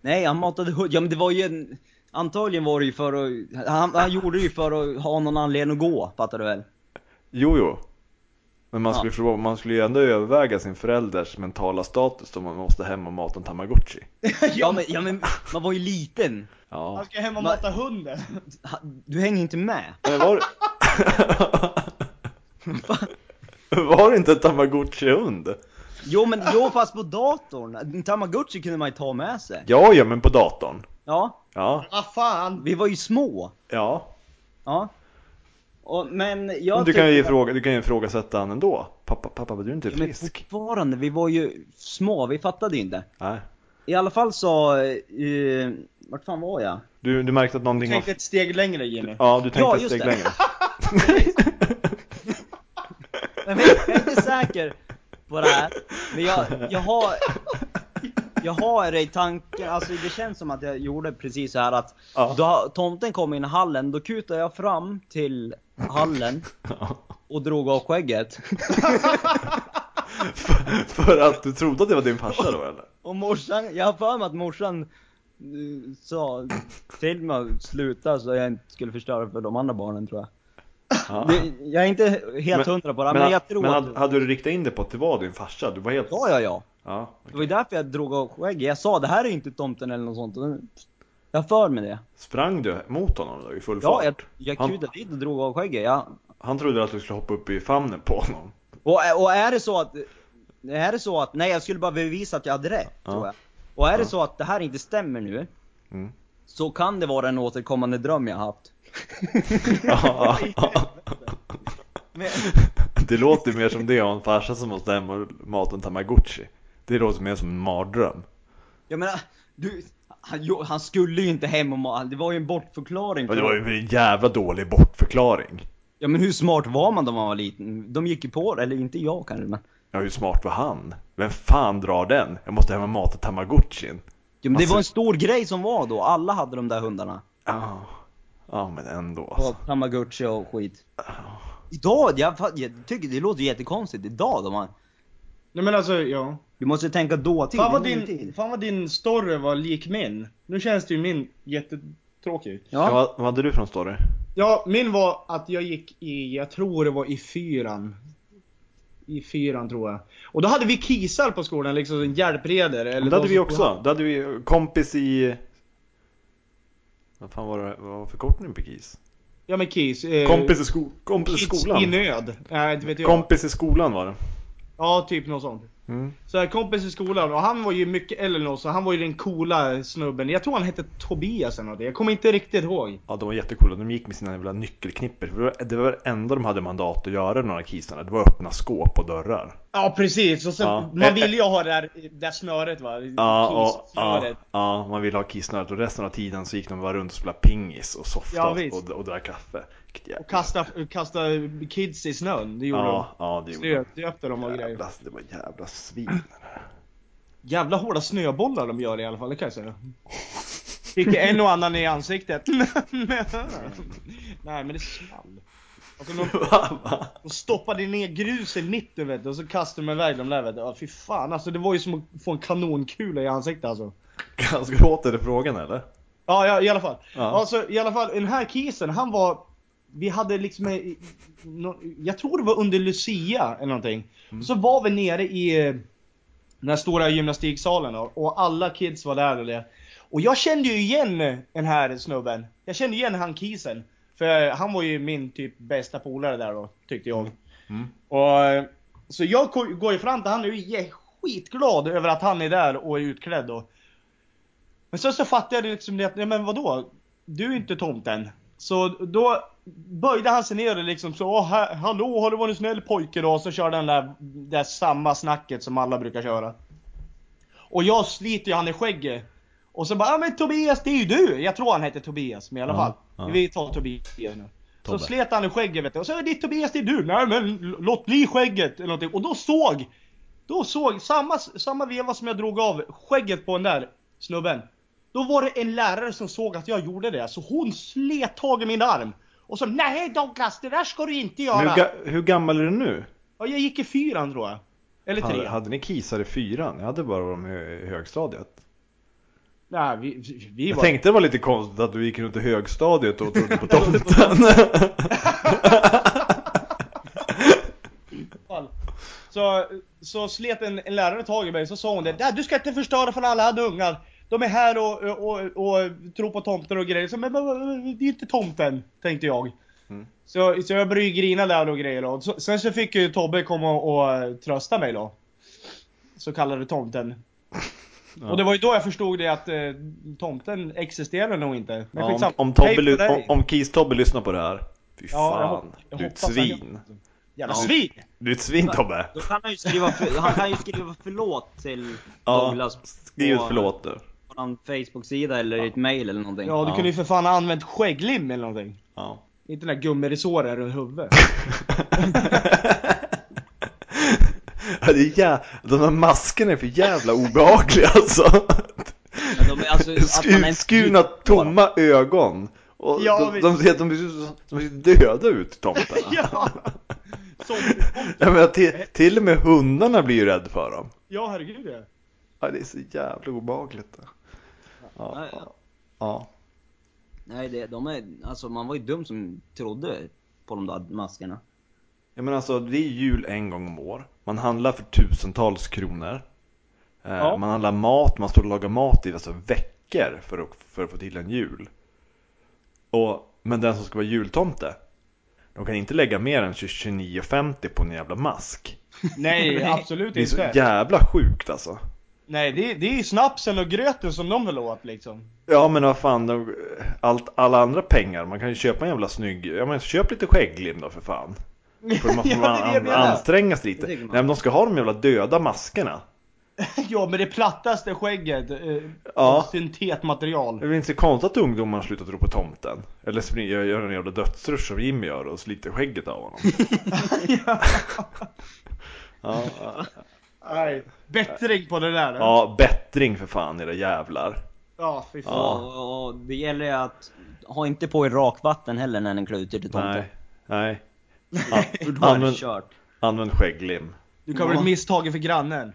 Speaker 2: Nej han matade hund, ja men det var ju en... Antagligen var det ju för att, han, han gjorde det ju för att ha någon anledning att gå, fattar
Speaker 3: *laughs*
Speaker 2: du väl?
Speaker 1: Jo, jo. Men man
Speaker 2: Ja.
Speaker 1: skulle, förstå- man skulle ju ändå överväga sin förälders mentala status om man måste hem och mata en tamagotchi.
Speaker 2: Ja men, ja, men man var ju liten.
Speaker 1: Ja.
Speaker 3: Han
Speaker 2: Alltså.
Speaker 3: ska hem och mata hunden.
Speaker 2: *laughs* Ha- Du hänger inte med.
Speaker 1: Men var... Var det inte en tamagotchi-hund?
Speaker 2: Jo men, jo fast på datorn. En Tamagotchi kunde man ju ta med sig.
Speaker 1: Ja, ja men på datorn.
Speaker 2: Ja,
Speaker 1: Ja,
Speaker 3: Vad Ah, fan!
Speaker 2: vi var ju små.
Speaker 1: ja.
Speaker 2: Ja. Och, men
Speaker 1: Men
Speaker 2: jag
Speaker 1: du, kan ju
Speaker 2: tycker-
Speaker 1: ifråga, du kan ju ifrågasätta han ändå. Pappa, pappa, var du inte
Speaker 2: Men
Speaker 1: frisk?
Speaker 2: fortfarande, vi var ju små, vi fattade ju inte.
Speaker 1: Nej.
Speaker 2: I alla fall så, eh, vart fan var jag?
Speaker 1: Du, du märkte att någonting var...
Speaker 3: Tänkte ett steg längre Jimmy.
Speaker 1: Ja, du
Speaker 2: Ja,
Speaker 1: tänkte ett
Speaker 2: just
Speaker 1: steg
Speaker 2: det.
Speaker 1: längre.
Speaker 2: Men jag är inte säker på det här. Men jag, jag har... Jag har det i tanken, alltså det känns som att jag gjorde precis så här att
Speaker 1: Ja. *laughs*
Speaker 2: *laughs* då tomten kom in i hallen, då kutade jag fram till hallen
Speaker 1: Ja.
Speaker 2: och drog av skägget.
Speaker 1: För, för att du trodde att det var din farsa då eller?
Speaker 2: Och morsan, jag har för mig att morsan eh, sa till mig att sluta så jag inte skulle förstöra för de andra barnen tror jag.
Speaker 1: Ja.
Speaker 2: Det, jag är inte helt hundra på det, men, jag tror
Speaker 1: men
Speaker 2: att...
Speaker 1: hade, hade du riktat in det på att det var din farsa? Du var helt...
Speaker 2: Ja, ja, ja.
Speaker 1: Ja,
Speaker 2: Det var ju därför jag drog av skägget. Jag sa det här är ju inte tomten eller något sånt. Och nu- Jag har för mig det.
Speaker 1: Sprang du mot honom då i full
Speaker 2: Ja,
Speaker 1: fart?
Speaker 2: jag, jag
Speaker 1: Han-
Speaker 2: kutade dit och drog av skägget. Ja.
Speaker 1: Han trodde att du skulle hoppa upp i famnen på
Speaker 2: *laughs*
Speaker 1: honom.
Speaker 2: Och, och är det så att... Är det så att... Nej, jag skulle bara bevisa att jag hade rätt,
Speaker 1: Ja.
Speaker 2: tror jag. Och är det så att det här inte stämmer nu,
Speaker 1: Mm.
Speaker 2: så kan det vara en återkommande dröm jag haft.
Speaker 1: Ja.
Speaker 2: Men,
Speaker 1: *laughs* det låter mer som det och en farsa som måste hem och mata en tamagotchi. Det låter mer som en mardröm.
Speaker 2: jag menar, du... Han, jo, han skulle ju inte hem och ma- Det var ju en bortförklaring.
Speaker 1: Ja, det
Speaker 2: för-
Speaker 1: var ju en jävla dålig bortförklaring.
Speaker 2: Ja men hur smart var man då man var liten? De gick ju på det, eller inte jag kanske men...
Speaker 1: Ja, hur smart var han? Vem fan drar den? Jag måste hem och mata tamagotchin.
Speaker 2: Ja, men det
Speaker 1: Alltså-
Speaker 2: var en stor grej som var då, alla hade de där hundarna.
Speaker 1: Ja, ja men ändå
Speaker 2: Och
Speaker 1: alltså.
Speaker 2: Tamagotchi och skit. Idag, jag, fa- jag tycker det låter jättekonstigt idag då man...
Speaker 3: Nej men alltså, ja.
Speaker 2: Du måste tänka dåtid,
Speaker 3: Fan vad,
Speaker 2: det är
Speaker 3: din,
Speaker 2: nutid.
Speaker 3: fan vad din story var lik min. Nu känns det ju min jättetråkig.
Speaker 1: Ja.
Speaker 2: Ja.
Speaker 1: Vad, vad hade du för en story?
Speaker 3: Ja, min var att jag gick i, jag tror det var i fyran. I fyran tror jag. Och då hade vi kisar på skolan, liksom en hjälpredor. Eller
Speaker 1: Men det hade
Speaker 3: de
Speaker 1: vi
Speaker 3: som-
Speaker 1: också. Det hade vi kompis i... Vad fan var det? Vad var förkortningen på KIS?
Speaker 3: Ja men kis. Eh,
Speaker 1: Kompis i, sko- kompis i
Speaker 3: kids
Speaker 1: skolan.
Speaker 3: i nöd. Nej, inte vet jag.
Speaker 1: Kompis i skolan var det.
Speaker 3: ja, typ något sånt.
Speaker 1: Mm.
Speaker 3: Så här, kompis i skolan och han var ju mycket eller något så han var ju den coola snubben. Jag tror han hette Tobias eller något. Jag kommer inte riktigt ihåg.
Speaker 1: Ja, de var jättecoola. De gick med sina jävla nyckelknipper. För det var- Det var det enda de hade mandat att göra, de här kisarna. Det var att öppna skåp och dörrar.
Speaker 3: Ja precis, och sen,
Speaker 1: Ja.
Speaker 3: man ville ju ha det där, det där snöret va?
Speaker 1: Ja, och, ja,
Speaker 3: Kissnöret.
Speaker 1: ja, man ville ha kissnödigt och resten av tiden så gick de bara runt och spelade pingis och
Speaker 3: Ja,
Speaker 1: softade
Speaker 3: visst.
Speaker 1: och, och drack kaffe. Vilket jävla-
Speaker 3: Och kasta, kasta kids i snön, det gjorde
Speaker 1: ja, ja, det
Speaker 3: de.
Speaker 1: gjorde
Speaker 3: Snö,
Speaker 1: de.
Speaker 3: döpte de och grejer.
Speaker 1: Jävla, det var jävla svin. *laughs*
Speaker 3: Jävla hårda snöbollar de gör i alla fall, det kan jag säga. Fick en och annan i ansiktet. *laughs* Nej men det small. Och så de,
Speaker 1: Va, va?
Speaker 3: de stoppade ner grus i mitten vet du, och så kastade de iväg dem där vet du. Ja, fy fan alltså det var ju som att få en kanonkula i ansiktet alltså.
Speaker 1: Ska du åter frågan eller?
Speaker 3: Ja, ja i alla fall.
Speaker 1: Ja.
Speaker 3: Ja. Alltså, I alla fall, den här kisen han var... Vi hade liksom... en- nå- Jag tror det var under Lucia eller någonting.
Speaker 1: Mm.
Speaker 3: Så var vi nere i eh, den här stora gymnastiksalen då, och alla kids var där och det. Och jag kände ju igen den här snubben. Jag kände igen han kisen. För han var ju min typ bästa polare där då, tyckte jag.
Speaker 1: Mm.
Speaker 3: Och, eh, så jag ko- går ju fram till han och är jä- skitglad över att han är där och är utklädd då. Men sen så fattade jag det liksom det att, nej men vadå? Du är ju inte tomten. Så då böjde han sig ner och liksom så, "Åh, ha- hallå har du varit en snäll pojke då? Och så körde han det där, det där samma snacket som alla brukar köra. Och jag sliter ju han i skägget. Och så bara, ja men Tobias det är ju du! Jag tror han hette Tobias, men i alla
Speaker 1: Ja,
Speaker 3: fall.
Speaker 1: ja.
Speaker 3: Vi tar Tobias nu.
Speaker 1: Tobbe.
Speaker 3: Så slet han i skägget vet du. Och så, det är Tobias det är du! Nej men l- låt bli skägget! Eller någonting. Och då såg då såg, samma, samma veva som jag drog av skägget på den där snubben. Då var det en lärare som såg att jag gjorde det, så hon slet tag i min arm. Och så nej Douglas, det där ska du inte göra!
Speaker 1: Men hur, ga- hur gammal är du nu?
Speaker 3: Ja, jag gick i fyran tror jag. Eller
Speaker 1: Hade,
Speaker 3: tre.
Speaker 1: hade ni kisar i fyran? Jag hade bara dem i i högstadiet.
Speaker 3: Nej, vi, vi- vi
Speaker 1: Jag
Speaker 3: var...
Speaker 1: tänkte det var lite konstigt att du gick runt i högstadiet och trodde
Speaker 3: *laughs*
Speaker 1: på tomten.
Speaker 3: fall. Så, så slet en, en lärare tag i mig så sa hon det. Där, du ska inte förstöra för alla hade ungar. De är här och, och, och, och tror på tomten och grejer. Så, men, men, men det är inte tomten, tänkte jag.
Speaker 1: Mm.
Speaker 3: Så, så jag började ju grina där och grejer då. Så, sen så fick ju Tobbe komma och, och trösta mig då. Så kallade tomten. Och det var ju då jag förstod det att eh, tomten existerar nog inte.
Speaker 1: Ja,
Speaker 3: Men
Speaker 1: om,
Speaker 3: skitsamma.
Speaker 1: om,
Speaker 3: Hej
Speaker 1: Tobbe,
Speaker 3: på
Speaker 1: ly-
Speaker 3: dig.
Speaker 1: om, om Keys-Tobbe lyssnar på det här. Fy
Speaker 3: Ja, jag
Speaker 1: fan,
Speaker 3: hop- jag
Speaker 1: du är ett
Speaker 3: hoppas han gör
Speaker 1: svin.
Speaker 3: Jävla svin!
Speaker 1: Du är ett svin Tobbe.
Speaker 2: Då kan han ju skriva, för, han kan ju skriva förlåt till
Speaker 1: Ja,
Speaker 2: Douglas
Speaker 1: skriv ett förlåt nu.
Speaker 2: på en Facebook-sida eller i ett mail eller någonting.
Speaker 3: Ja, du kunde ju för fan ha använt skägglim eller någonting.
Speaker 1: Ja. *laughs*
Speaker 3: Inte den där gummiresåren runt huvudet.
Speaker 1: ja, det är jä- De där maskerna är för jävla obehagliga alltså.
Speaker 2: Men de är alltså- att man
Speaker 1: Skur,
Speaker 2: ens-
Speaker 1: skurna tomma ögon. Och
Speaker 3: Ja,
Speaker 1: de,
Speaker 3: visst.
Speaker 1: de, ser, de, ser, de ser döda ut tomtarna.
Speaker 3: ja! Som,
Speaker 1: Jag menar, till, till och med hundarna blir ju rädd för dem.
Speaker 3: ja, herregud ja.
Speaker 1: Ja, det är så jävla obehagligt. Ja, ja. ja.
Speaker 2: Nej, det, de är, alltså man var ju dum som trodde på de där maskerna.
Speaker 1: Ja men alltså det är jul en gång om år. Man handlar för tusentals kronor. Eh,
Speaker 3: Ja.
Speaker 1: Man handlar mat, man står och lagar mat i alltså, veckor för att, för att få till en jul. Och, men den som ska vara jultomte, de kan inte lägga mer än 29,50 på en jävla mask.
Speaker 3: Nej, absolut
Speaker 1: Det är så
Speaker 3: inte.
Speaker 1: jävla sjukt alltså.
Speaker 3: Nej, det, är- det är ju snapsen och gröten som de vill åt liksom. *laughs*
Speaker 1: Ja men vad fan, de, allt, alla andra pengar, man kan ju köpa en jävla snygg, ja men köp lite skägglim då för fan. För man får
Speaker 3: Ja, det är det jag
Speaker 1: an,
Speaker 3: menar.
Speaker 1: anstränga sig lite.
Speaker 2: Det
Speaker 1: Nej
Speaker 2: tycker man.
Speaker 1: men de ska ha de jävla döda maskerna.
Speaker 3: Ja, men det plattaste skägget. Eh,
Speaker 1: Ja.
Speaker 3: av Syntetmaterial.
Speaker 1: Det är väl inte så konstigt att ungdomar slutar tro på tomten? Eller spring- gör- gör en jävla dödsrush som Jimmy gör och sliter skägget av honom. ja, ja.
Speaker 3: Nej. Bättring på det där. eller?
Speaker 1: ja, bättring för fan era jävlar.
Speaker 3: Ja, fy fan.
Speaker 1: Ja.
Speaker 2: Och, och det gäller ju att ha inte på er rakvatten heller när ni klär ut er till tomten.
Speaker 1: Nej, nej.
Speaker 2: För då är det
Speaker 1: Använd-
Speaker 2: kört.
Speaker 1: Använd skägglim.
Speaker 3: Du kan bli misstagen för grannen.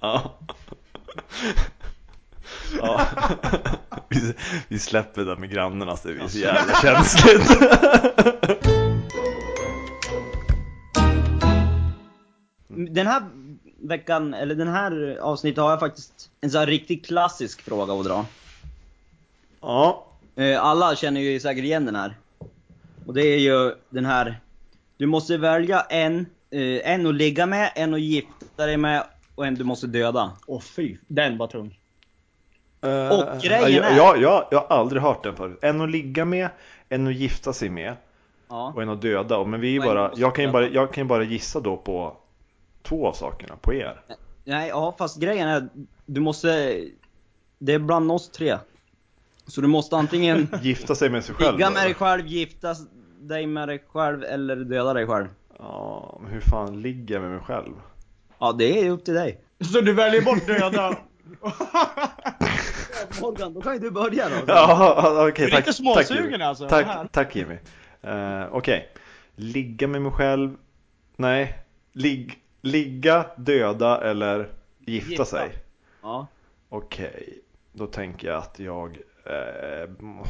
Speaker 1: Ja. ja. Vi, vi släpper det där med grannarna så det är så jävla känsligt.
Speaker 2: Den här veckan, eller den här avsnittet har jag faktiskt en sån här riktigt klassisk fråga att dra.
Speaker 1: Ja,
Speaker 2: Eh, Alla känner ju säkert igen den här. Och det är ju den här. Du måste välja en, eh, en att ligga med, en att gifta dig med och en du måste döda.
Speaker 3: Åh fy, den var tung.
Speaker 1: Eh,
Speaker 2: Och grejen
Speaker 1: ja,
Speaker 2: är-
Speaker 1: ja, ja, jag har aldrig hört den förut. En att ligga med, en att gifta sig med
Speaker 2: Ja.
Speaker 1: och en att döda. Och Men vi är
Speaker 2: Och en
Speaker 1: bara,
Speaker 2: måste
Speaker 1: jag, kan ju
Speaker 2: döda.
Speaker 1: bara, jag kan ju bara gissa då på två av sakerna, på er.
Speaker 2: Nej, ja fast grejen är du måste... Det är bland oss tre. Så du måste antingen
Speaker 1: Gifta sig med sig *laughs* själv.
Speaker 2: ligga
Speaker 1: då.
Speaker 2: med dig själv, gifta dig med dig själv eller döda dig själv.
Speaker 1: Ja, men hur fan ligger jag med mig själv?
Speaker 2: Ja, det är upp till dig.
Speaker 3: Så du väljer
Speaker 1: *laughs*
Speaker 3: bort döda?
Speaker 2: Morgan, då kan ju du börja då.
Speaker 1: Ja, *laughs* okej.
Speaker 3: är
Speaker 1: tack,
Speaker 3: lite småsugen
Speaker 1: tack, Jimmy.
Speaker 3: alltså, här.
Speaker 1: Tack, tack Jimmy. Eh, okej. Ligga med mig själv. Nej. Lig, ligga, döda eller gifta,
Speaker 2: Gifta.
Speaker 1: sig.
Speaker 2: Ja.
Speaker 1: Okej, då tänker jag att jag... Eh, må-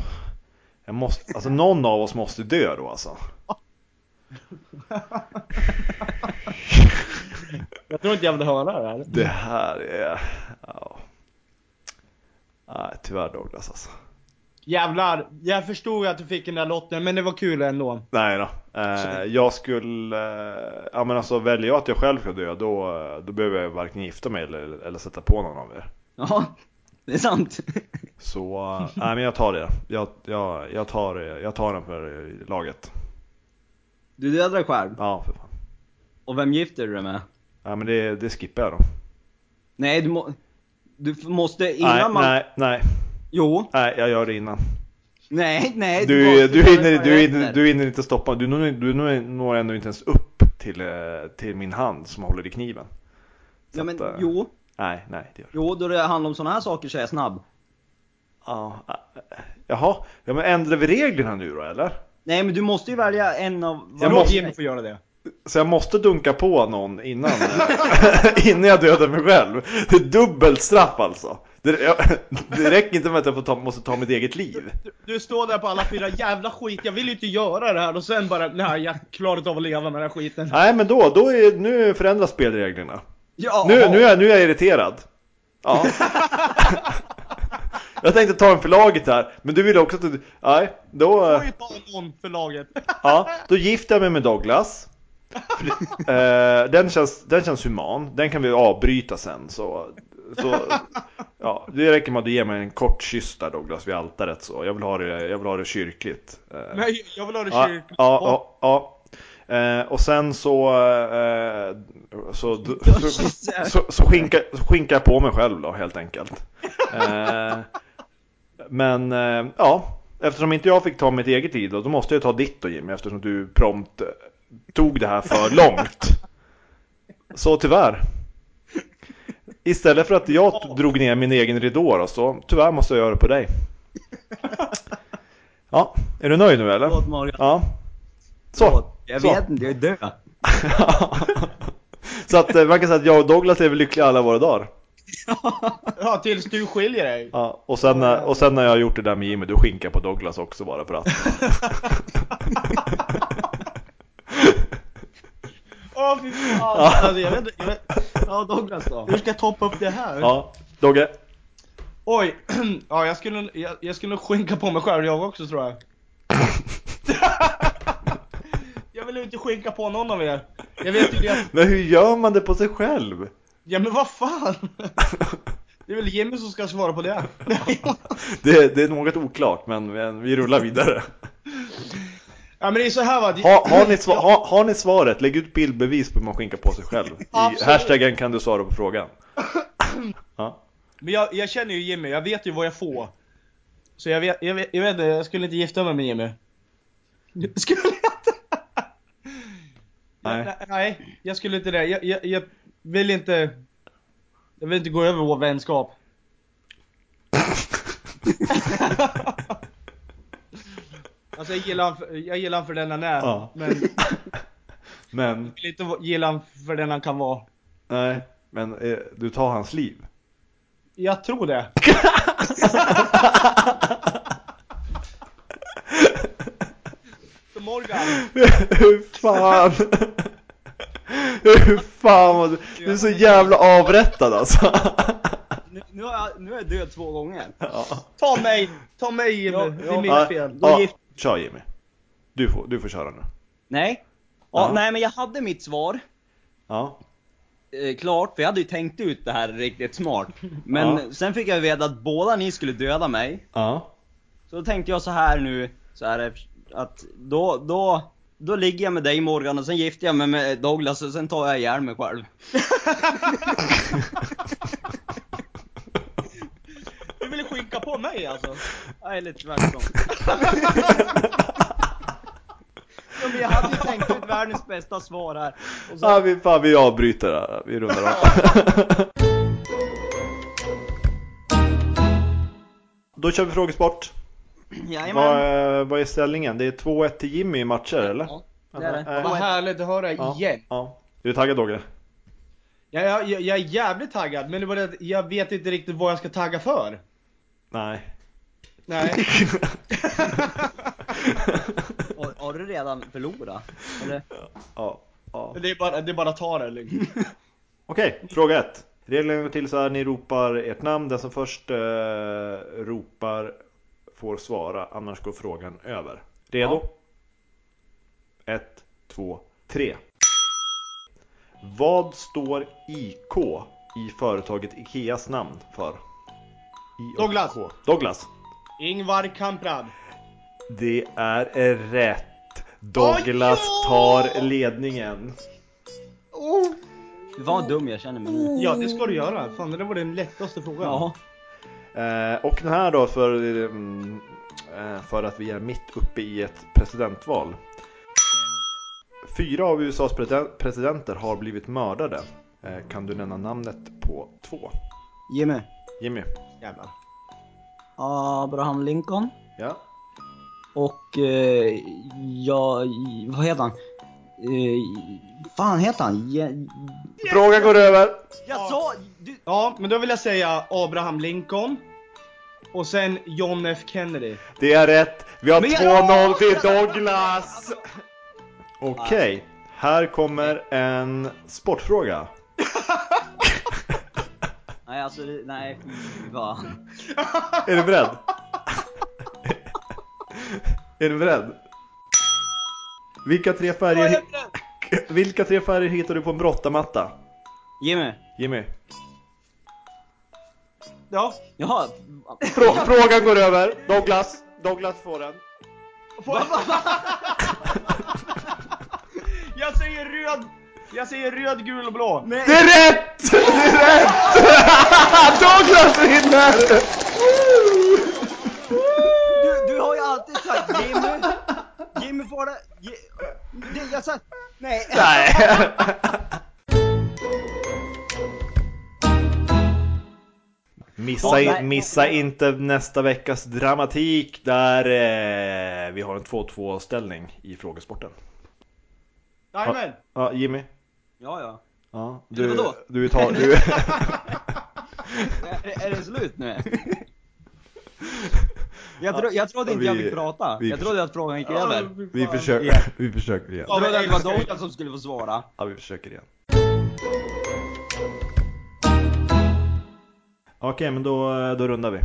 Speaker 1: jag måste, alltså någon av oss måste dö då alltså.
Speaker 3: jag tror inte jag vill höra det här.
Speaker 1: Det här är... Ja. Nej, tyvärr Douglas alltså.
Speaker 3: Jävlar, jag förstod att du fick den där lotten men det var kul ändå.
Speaker 1: Nej då. Eh, jag skulle... Eh, ja men alltså väljer jag att jag själv ska dö då, eh, då behöver jag varken gifta mig eller, eller sätta på någon av er.
Speaker 2: Ja, det är sant.
Speaker 1: Så, eh, nej men jag tar det. Jag, jag, jag, tar, jag tar den för eh, laget.
Speaker 2: Du dödar dig själv.
Speaker 1: Ja, för fan.
Speaker 2: Och vem gifter du dig med?
Speaker 1: Nej men det, det skippar jag då.
Speaker 2: Nej, du, må, du f- måste innan
Speaker 1: Nej,
Speaker 2: man...
Speaker 1: nej, nej.
Speaker 2: Jo.
Speaker 1: Nej, jag gör det innan.
Speaker 2: Nej, nej.
Speaker 1: Du,
Speaker 2: måste
Speaker 1: du,
Speaker 2: göra
Speaker 1: hinner,
Speaker 2: det
Speaker 1: du, hinner,
Speaker 2: efter.
Speaker 1: du hinner inte stoppa, du, når- du når- når ändå inte ens upp till, eh, till min hand som håller i kniven. Så
Speaker 2: Ja, men
Speaker 1: att, eh,
Speaker 2: jo.
Speaker 1: Nej, nej det gör du
Speaker 2: Jo, då det handlar om såna här saker så är jag snabb.
Speaker 1: ja, eh, Jaha, ja, men ändrar vi reglerna nu då eller?
Speaker 2: Nej, men du måste ju välja en av...
Speaker 1: Jag
Speaker 3: Jag
Speaker 1: måste-
Speaker 3: måste Jimmy få göra det.
Speaker 1: Så jag måste dunka på någon innan, *laughs* eh, innan jag dödar mig själv. Det är dubbelt straff alltså. Det, jag, *laughs* det räcker inte med att jag får ta, måste ta mitt eget liv.
Speaker 3: Du, du står där på alla fyra, jävla skit, jag vill ju inte göra det här och sen bara, nej jag klarar inte av att leva med den här skiten.
Speaker 1: Nej men då, då är, nu förändras spelreglerna.
Speaker 2: Ja,
Speaker 1: Nu, nu, är, nu är jag irriterad. Ja. *laughs* Jag tänkte ta en förlaget här, men du ville också att du... Nej, då...
Speaker 3: Det
Speaker 1: eh,
Speaker 3: var ju bara någon för laget.
Speaker 1: Ja, då gifter jag mig med Douglas. För det- eh, den, känns, den känns human, den kan vi avbryta sen. Så, så, ja, det räcker med att du ger mig en kort kyss där Douglas vid altaret. Så. Jag, vill ha det, jag vill ha det kyrkligt. Eh,
Speaker 3: Men jag vill ha det
Speaker 1: ja,
Speaker 3: kyrkligt.
Speaker 1: ja, ja, ja. Eh, och sen så, eh, så, så, så, så, skinkar, så skinkar jag på mig själv då helt enkelt. Eh, men eh, ja, eftersom inte jag fick ta mitt eget tid då, då måste jag ta ditt då Jimmy eftersom du prompt eh, tog det här för långt. Så tyvärr. Istället för att jag drog ner min egen ridå då, så tyvärr måste jag göra det på dig. Ja, är du nöjd nu eller?
Speaker 2: Förlåt Morgan.
Speaker 1: Ja. Så.
Speaker 2: Förlåt. Jag
Speaker 1: så.
Speaker 2: vet inte, jag är död.
Speaker 1: så att eh, man kan säga att jag och Douglas lever lyckliga alla våra dagar.
Speaker 3: Ja, tills du skiljer dig.
Speaker 1: Ja, och, sen, när- och sen när jag har gjort det där med Jimmy, då skinkar jag på Douglas också bara för att.
Speaker 3: Åh fy fan. Alltså, jag vet, inte- jag vet,
Speaker 2: Ja Douglas då.
Speaker 3: hur ska jag toppa upp det här?
Speaker 1: Ja, Dogge.
Speaker 3: Oj, *clears throat* ja, jag skulle, jag, jag skulle nog skinka på mig själv jag också tror jag. jag vill ju inte skinka på någon av er. Jag vet ju det.
Speaker 1: Men hur gör man det på sig själv?
Speaker 3: Ja men vad fan. Det är väl Jimmy som ska svara på det.
Speaker 1: Det, det är något oklart, men, men vi rullar vidare.
Speaker 3: ja men det är så här va. det-
Speaker 1: Ha, har, ni sva, ha, har ni svaret, lägg ut bildbevis på hur man skinkar på sig själv. I
Speaker 3: Absolut.
Speaker 1: hashtaggen kan du svara på frågan.
Speaker 3: Men jag, jag känner ju Jimmy, jag vet ju vad jag får. Så jag vet, jag vet, jag vet inte, jag skulle inte gifta mig med Jimmy. Skulle jag inte?
Speaker 1: *laughs* Nej.
Speaker 3: Jag, nej, jag skulle inte det. Jag, jag, jag vill inte... Jag vill inte gå över
Speaker 1: *laughs*
Speaker 3: vår vänskap. alltså jag gillar han för, jag gillar han för den han är.
Speaker 1: Ja.
Speaker 3: Men jag
Speaker 1: Men,
Speaker 3: vill inte gilla han för den han kan vara.
Speaker 1: nej, men eh, du tar hans liv.
Speaker 3: Jag tror det. Så Morgan,
Speaker 1: *laughs* Hur fan? Hur fan vad du... Du är så jävla avrättad alltså.
Speaker 2: Nu, nu, har jag, nu är jag död två gånger.
Speaker 3: ta mig! Ta mig Jimmy,
Speaker 2: Ja,
Speaker 3: det
Speaker 2: ja.
Speaker 3: är mitt
Speaker 1: Ja,
Speaker 3: fel.
Speaker 2: Då
Speaker 1: ja,
Speaker 2: gift-
Speaker 1: kör Jimmy. Du får, du får köra nu.
Speaker 2: Nej. Ja,
Speaker 1: Ja.
Speaker 2: Nej men jag hade mitt svar.
Speaker 1: Ja.
Speaker 2: eh, klart, för jag hade ju tänkt ut det här riktigt *laughs* smart. Men
Speaker 1: Ja.
Speaker 2: sen fick jag veta att båda ni skulle döda mig.
Speaker 1: Ja.
Speaker 2: Så då tänkte jag så här nu, så här, att då, då, då ligger jag med dig Morgan och sen gifter jag mig med Douglas och sen tar jag ihjäl mig själv. *clears throat*
Speaker 3: Du ville skinka på mig alltså?
Speaker 2: Ja, Eller tvärtom. Ja, men jag hade ju tänkt ut världens bästa svar här. Och så,
Speaker 1: Ja, vi, fan, vi avbryter det här. Vi rundar av. Då kör vi frågesport. Vad,
Speaker 2: jajamän.
Speaker 1: är- vad är ställningen? Det är 2-1 till Jimmy i matcher eller?
Speaker 2: Ja, det är det.
Speaker 1: Eh,
Speaker 3: Vad Alltså, härligt att höra
Speaker 1: ja,
Speaker 3: igen.
Speaker 1: Ja. Är du taggad Dogge?
Speaker 3: Jag, jag, jag, jag är jävligt taggad, men det var det att jag vet inte riktigt vad jag ska tagga för.
Speaker 1: *laughs*
Speaker 2: *laughs*
Speaker 1: Nej.
Speaker 3: Nej.
Speaker 2: Har, har du redan förlorat? Eller?
Speaker 1: ja. ja.
Speaker 3: Det är bara, det är bara att ta det liksom. lugnt.
Speaker 1: Okej, fråga ett. Reglerna går till så här, ni ropar ert namn, den som först eh, ropar får svara, annars går frågan över. Redo? Ett, två, tre. Vad står IK i företaget Ikeas namn för? I och
Speaker 3: Douglas.
Speaker 1: K. Douglas.
Speaker 3: Ingvar Kamprad.
Speaker 1: Det är rätt. Douglas tar ledningen.
Speaker 3: Oh.
Speaker 2: Vad dum jag känner mig nu.
Speaker 3: Ja, det ska du göra. Fan, det där var den lättaste frågan.
Speaker 2: Ja.
Speaker 1: Eh, och den här då för, mm, eh, för att vi är mitt uppe i ett presidentval. Fyra av USAs prete- presidenter har blivit mördade. Eh, kan du nämna namnet på två?
Speaker 2: Jimmy.
Speaker 1: Jimmy?
Speaker 3: Jävlar.
Speaker 2: Abraham Lincoln.
Speaker 1: Ja?
Speaker 2: Och eh, ja, i- vad heter han? Eh, fan heter han? Je-
Speaker 1: Frågan går över!
Speaker 2: jag sa du...
Speaker 3: Ja, men då vill jag säga Abraham Lincoln. Och sen John F Kennedy.
Speaker 1: Det är rätt! Vi har
Speaker 2: Men jag- Alltså-
Speaker 1: 2-0 till Douglas! Okej, här kommer en sportfråga.
Speaker 2: Nej alltså, det- nej fy fan.
Speaker 1: Är du beredd? är du beredd? Vilka tre färger... Vilka tre färger hittar du på en brottamatta?
Speaker 2: Jimmy.
Speaker 1: Jimmy?
Speaker 3: Ja.
Speaker 2: Jaha.
Speaker 1: Frå frågan går över. Douglas. Douglas får den.
Speaker 3: Får- jag säger röd, jag säger röd, gul och blå.
Speaker 2: Nej.
Speaker 1: Det är rätt! Det är rätt! *laughs* Douglas vinner!
Speaker 2: Du, du har ju alltid sagt Jimmy. *laughs* Jimmy får det. Ji- det jag sa... Nej.
Speaker 1: Nej. Missa, i- missa inte nästa veckas dramatik där eh, vi har en 2-2 ställning i frågesporten.
Speaker 3: Jajamän.
Speaker 1: Ja, Jimmy?
Speaker 2: Ja, ja.
Speaker 1: Ja, du,
Speaker 2: Vadå?
Speaker 1: du, tar, du,
Speaker 2: Är, är det slut nu? Jag, tro, jag trodde inte jag
Speaker 1: Vi-
Speaker 2: fick prata.
Speaker 1: vi
Speaker 2: Jag trodde att frågan gick
Speaker 3: Ja,
Speaker 2: över.
Speaker 1: vi,
Speaker 3: fan.
Speaker 2: Ja.
Speaker 1: försöker, *laughs* vi försöker igen.
Speaker 3: Ja,
Speaker 2: Jag trodde att det var
Speaker 3: men-
Speaker 2: Douglas som skulle få svara.
Speaker 1: Ja, vi försöker igen. Okej, men då, då rundar vi.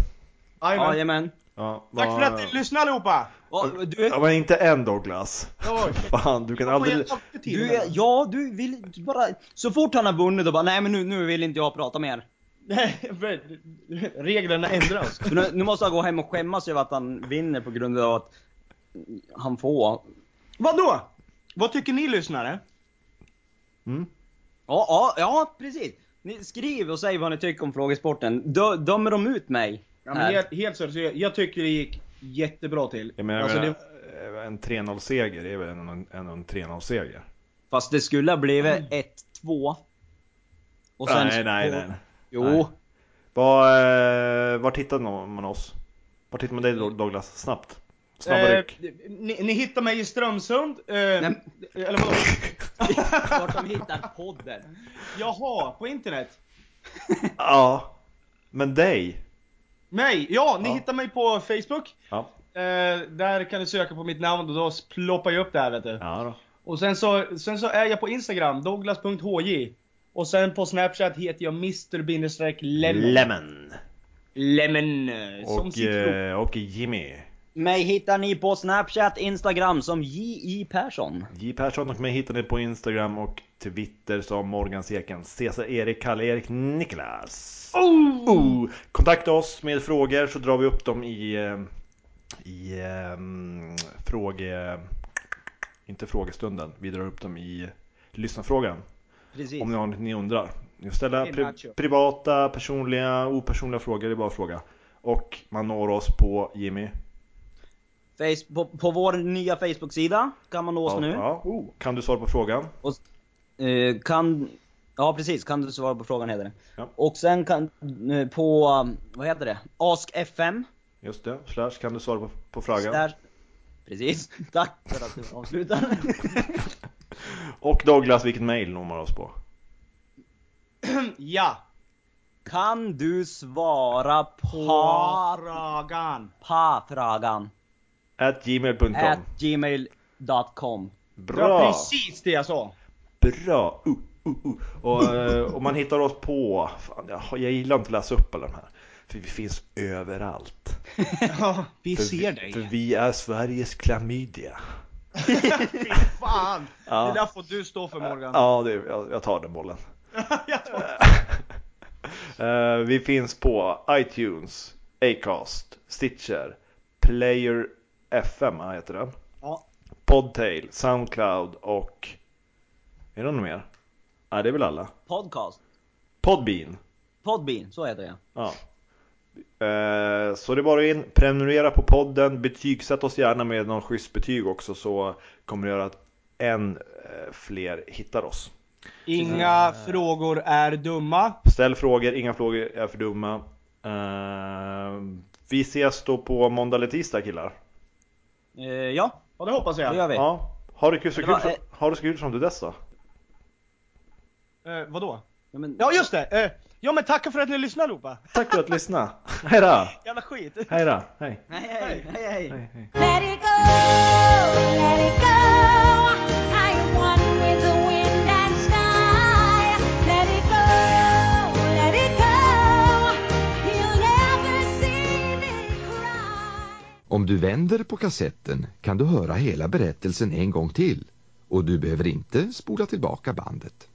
Speaker 3: Jajamän.
Speaker 2: Jajamän.
Speaker 1: Ja,
Speaker 3: Tack för att ni lyssnade allihopa!
Speaker 2: Och Du,
Speaker 1: Ja, men inte en Douglas. *laughs*
Speaker 3: Oj.
Speaker 1: Fan, du kan aldrig...
Speaker 3: Du
Speaker 2: du, är- ja du vill bara... Så fort han har vunnit och bara nej men nu, nu vill inte jag prata mer.
Speaker 3: Reglerna ändras.
Speaker 2: Så nu, nu måste han gå hem och skämmas över att han vinner på grund av att han får.
Speaker 3: Vadå? Vad tycker ni lyssnare?
Speaker 1: Mm.
Speaker 2: Ja, ja, ja precis. Ni skriv och säg vad ni tycker om frågesporten. Dö, dömer de ut mig?
Speaker 3: Ja, men helt, helt seriöst, jag, jag tycker det gick jättebra till.
Speaker 1: Jag menar,
Speaker 3: Alltså,
Speaker 1: jag
Speaker 3: det,
Speaker 1: menar, en 3-0-seger är väl en, en, en 3-0-seger?
Speaker 2: Fast det skulle ha blivit
Speaker 3: Mm.
Speaker 2: 1-2. Och sen-
Speaker 1: Nej, nej, nej.
Speaker 2: Jo.
Speaker 1: Nej. Var, eh, var hittar man oss? Var hittar man dig Douglas? Snabbt. Snabba
Speaker 3: eh,
Speaker 1: ryck.
Speaker 3: ni, ni hittar mig i Strömsund. Eh, eller vadå?
Speaker 2: Vart de hittar podden.
Speaker 3: Jaha, på internet?
Speaker 1: Ja. Men dig?
Speaker 3: Mig? Ja, ni
Speaker 1: Ja.
Speaker 3: hittar mig på Facebook.
Speaker 1: Ja.
Speaker 3: Eh, där kan du söka på mitt namn och då ploppar jag upp det här vet du.
Speaker 1: Ja då.
Speaker 3: Och sen så, sen så är jag på Instagram, douglas.hj. Och sen på Snapchat heter jag mr-lemon.
Speaker 1: Lemon.
Speaker 3: Lemon. eh, Som
Speaker 1: Och,
Speaker 3: citron.
Speaker 1: eh, och Jimmy.
Speaker 2: Mig hittar ni på Snapchat, Instagram som J.I. Persson.
Speaker 1: J Persson och mig hittar ni på Instagram och Twitter som Morgan Seken, Cesar Erik, Kalle Erik, Niklas. Oh! Kontakta oss med frågor så drar vi upp dem i, eh, i um, fråge... Inte frågestunden, vi drar upp dem i lyssnarfrågan.
Speaker 2: Precis.
Speaker 1: Om ni har något ni undrar. Ni får ställa
Speaker 3: Det är
Speaker 1: pri-
Speaker 3: nacho.
Speaker 1: privata, personliga, opersonliga frågor, det är bara att fråga. Och man når oss på Jimmy.
Speaker 2: Face, på, på vår nya Facebook-sida kan man nå oss
Speaker 1: Ja,
Speaker 2: nu.
Speaker 1: ja. Oh! Kan du svara på frågan?
Speaker 2: Och, eh, kan... Ja precis, kan du svara på frågan heter det.
Speaker 1: Ja.
Speaker 2: Och sen kan, eh, på, um, vad heter det? Ask FM.
Speaker 1: Just det. Slash, kan du svara på, på frågan?
Speaker 2: Där, precis, *laughs* tack för att du avslutar.
Speaker 1: Och Douglas, vilket mail når man oss på?
Speaker 3: Ja.
Speaker 2: kan du svara på
Speaker 3: Paragan.
Speaker 2: pa-frågan?
Speaker 1: At gmail.com
Speaker 2: At gmail.com.
Speaker 1: Bra!
Speaker 3: Ja, precis det jag sa.
Speaker 1: Bra! Uh, uh, uh. Och, eh, och man hittar oss på... Fan, jag, jag gillar inte att läsa upp alla de här. För vi finns överallt.
Speaker 3: Ja, *laughs* vi
Speaker 1: För
Speaker 3: ser
Speaker 1: vi, För
Speaker 3: dig.
Speaker 1: vi är Sveriges klamydia.
Speaker 3: Fan!
Speaker 1: Ja.
Speaker 3: Det där får du stå för Morgan.
Speaker 1: Ja, det, jag, jag tar den bollen.
Speaker 3: Jag tror-
Speaker 1: *laughs* Eh, vi finns på iTunes, Acast, Stitcher, Player FM ja, heter den.
Speaker 3: Ja.
Speaker 1: Podtail, Soundcloud och... Är det någon mer? Nej, det är väl alla.
Speaker 2: Podcast.
Speaker 1: Podbean.
Speaker 2: Podbean, så heter jag.
Speaker 1: Ja. Eh, Så det är bara in, prenumerera på podden, betygsätt oss gärna med någon schysst betyg också så kommer det göra att än eh, fler hittar oss.
Speaker 3: Inga
Speaker 1: Mm.
Speaker 3: frågor är dumma.
Speaker 1: Ställ frågor, inga frågor är för dumma. Eh, Vi ses då på måndag eller tisdag killar.
Speaker 2: Eh, ja,
Speaker 3: Ja, det hoppas
Speaker 2: det
Speaker 3: jag.
Speaker 2: gör vi.
Speaker 1: Ja, ha det kul så
Speaker 2: Det var,
Speaker 1: kul, som-
Speaker 2: eh,
Speaker 1: ha det så kul som till dess då.
Speaker 3: Eh, vadå?
Speaker 2: Ja, men,
Speaker 3: Ja, just det! Eh, ja, men tacka för att ni lyssnade allihopa.
Speaker 1: Tack för att lyssna. *laughs* Hej då!
Speaker 3: Jävla skit.
Speaker 1: Hej då! Hej!
Speaker 2: Hej, hej, hej, hej.
Speaker 1: hej, hej.
Speaker 5: Let it go, let it go. I'm one with the wind and sky. Let it go, let it go.
Speaker 4: du vänder på kassetten kan du höra hela berättelsen en gång till och du behöver inte spola tillbaka bandet.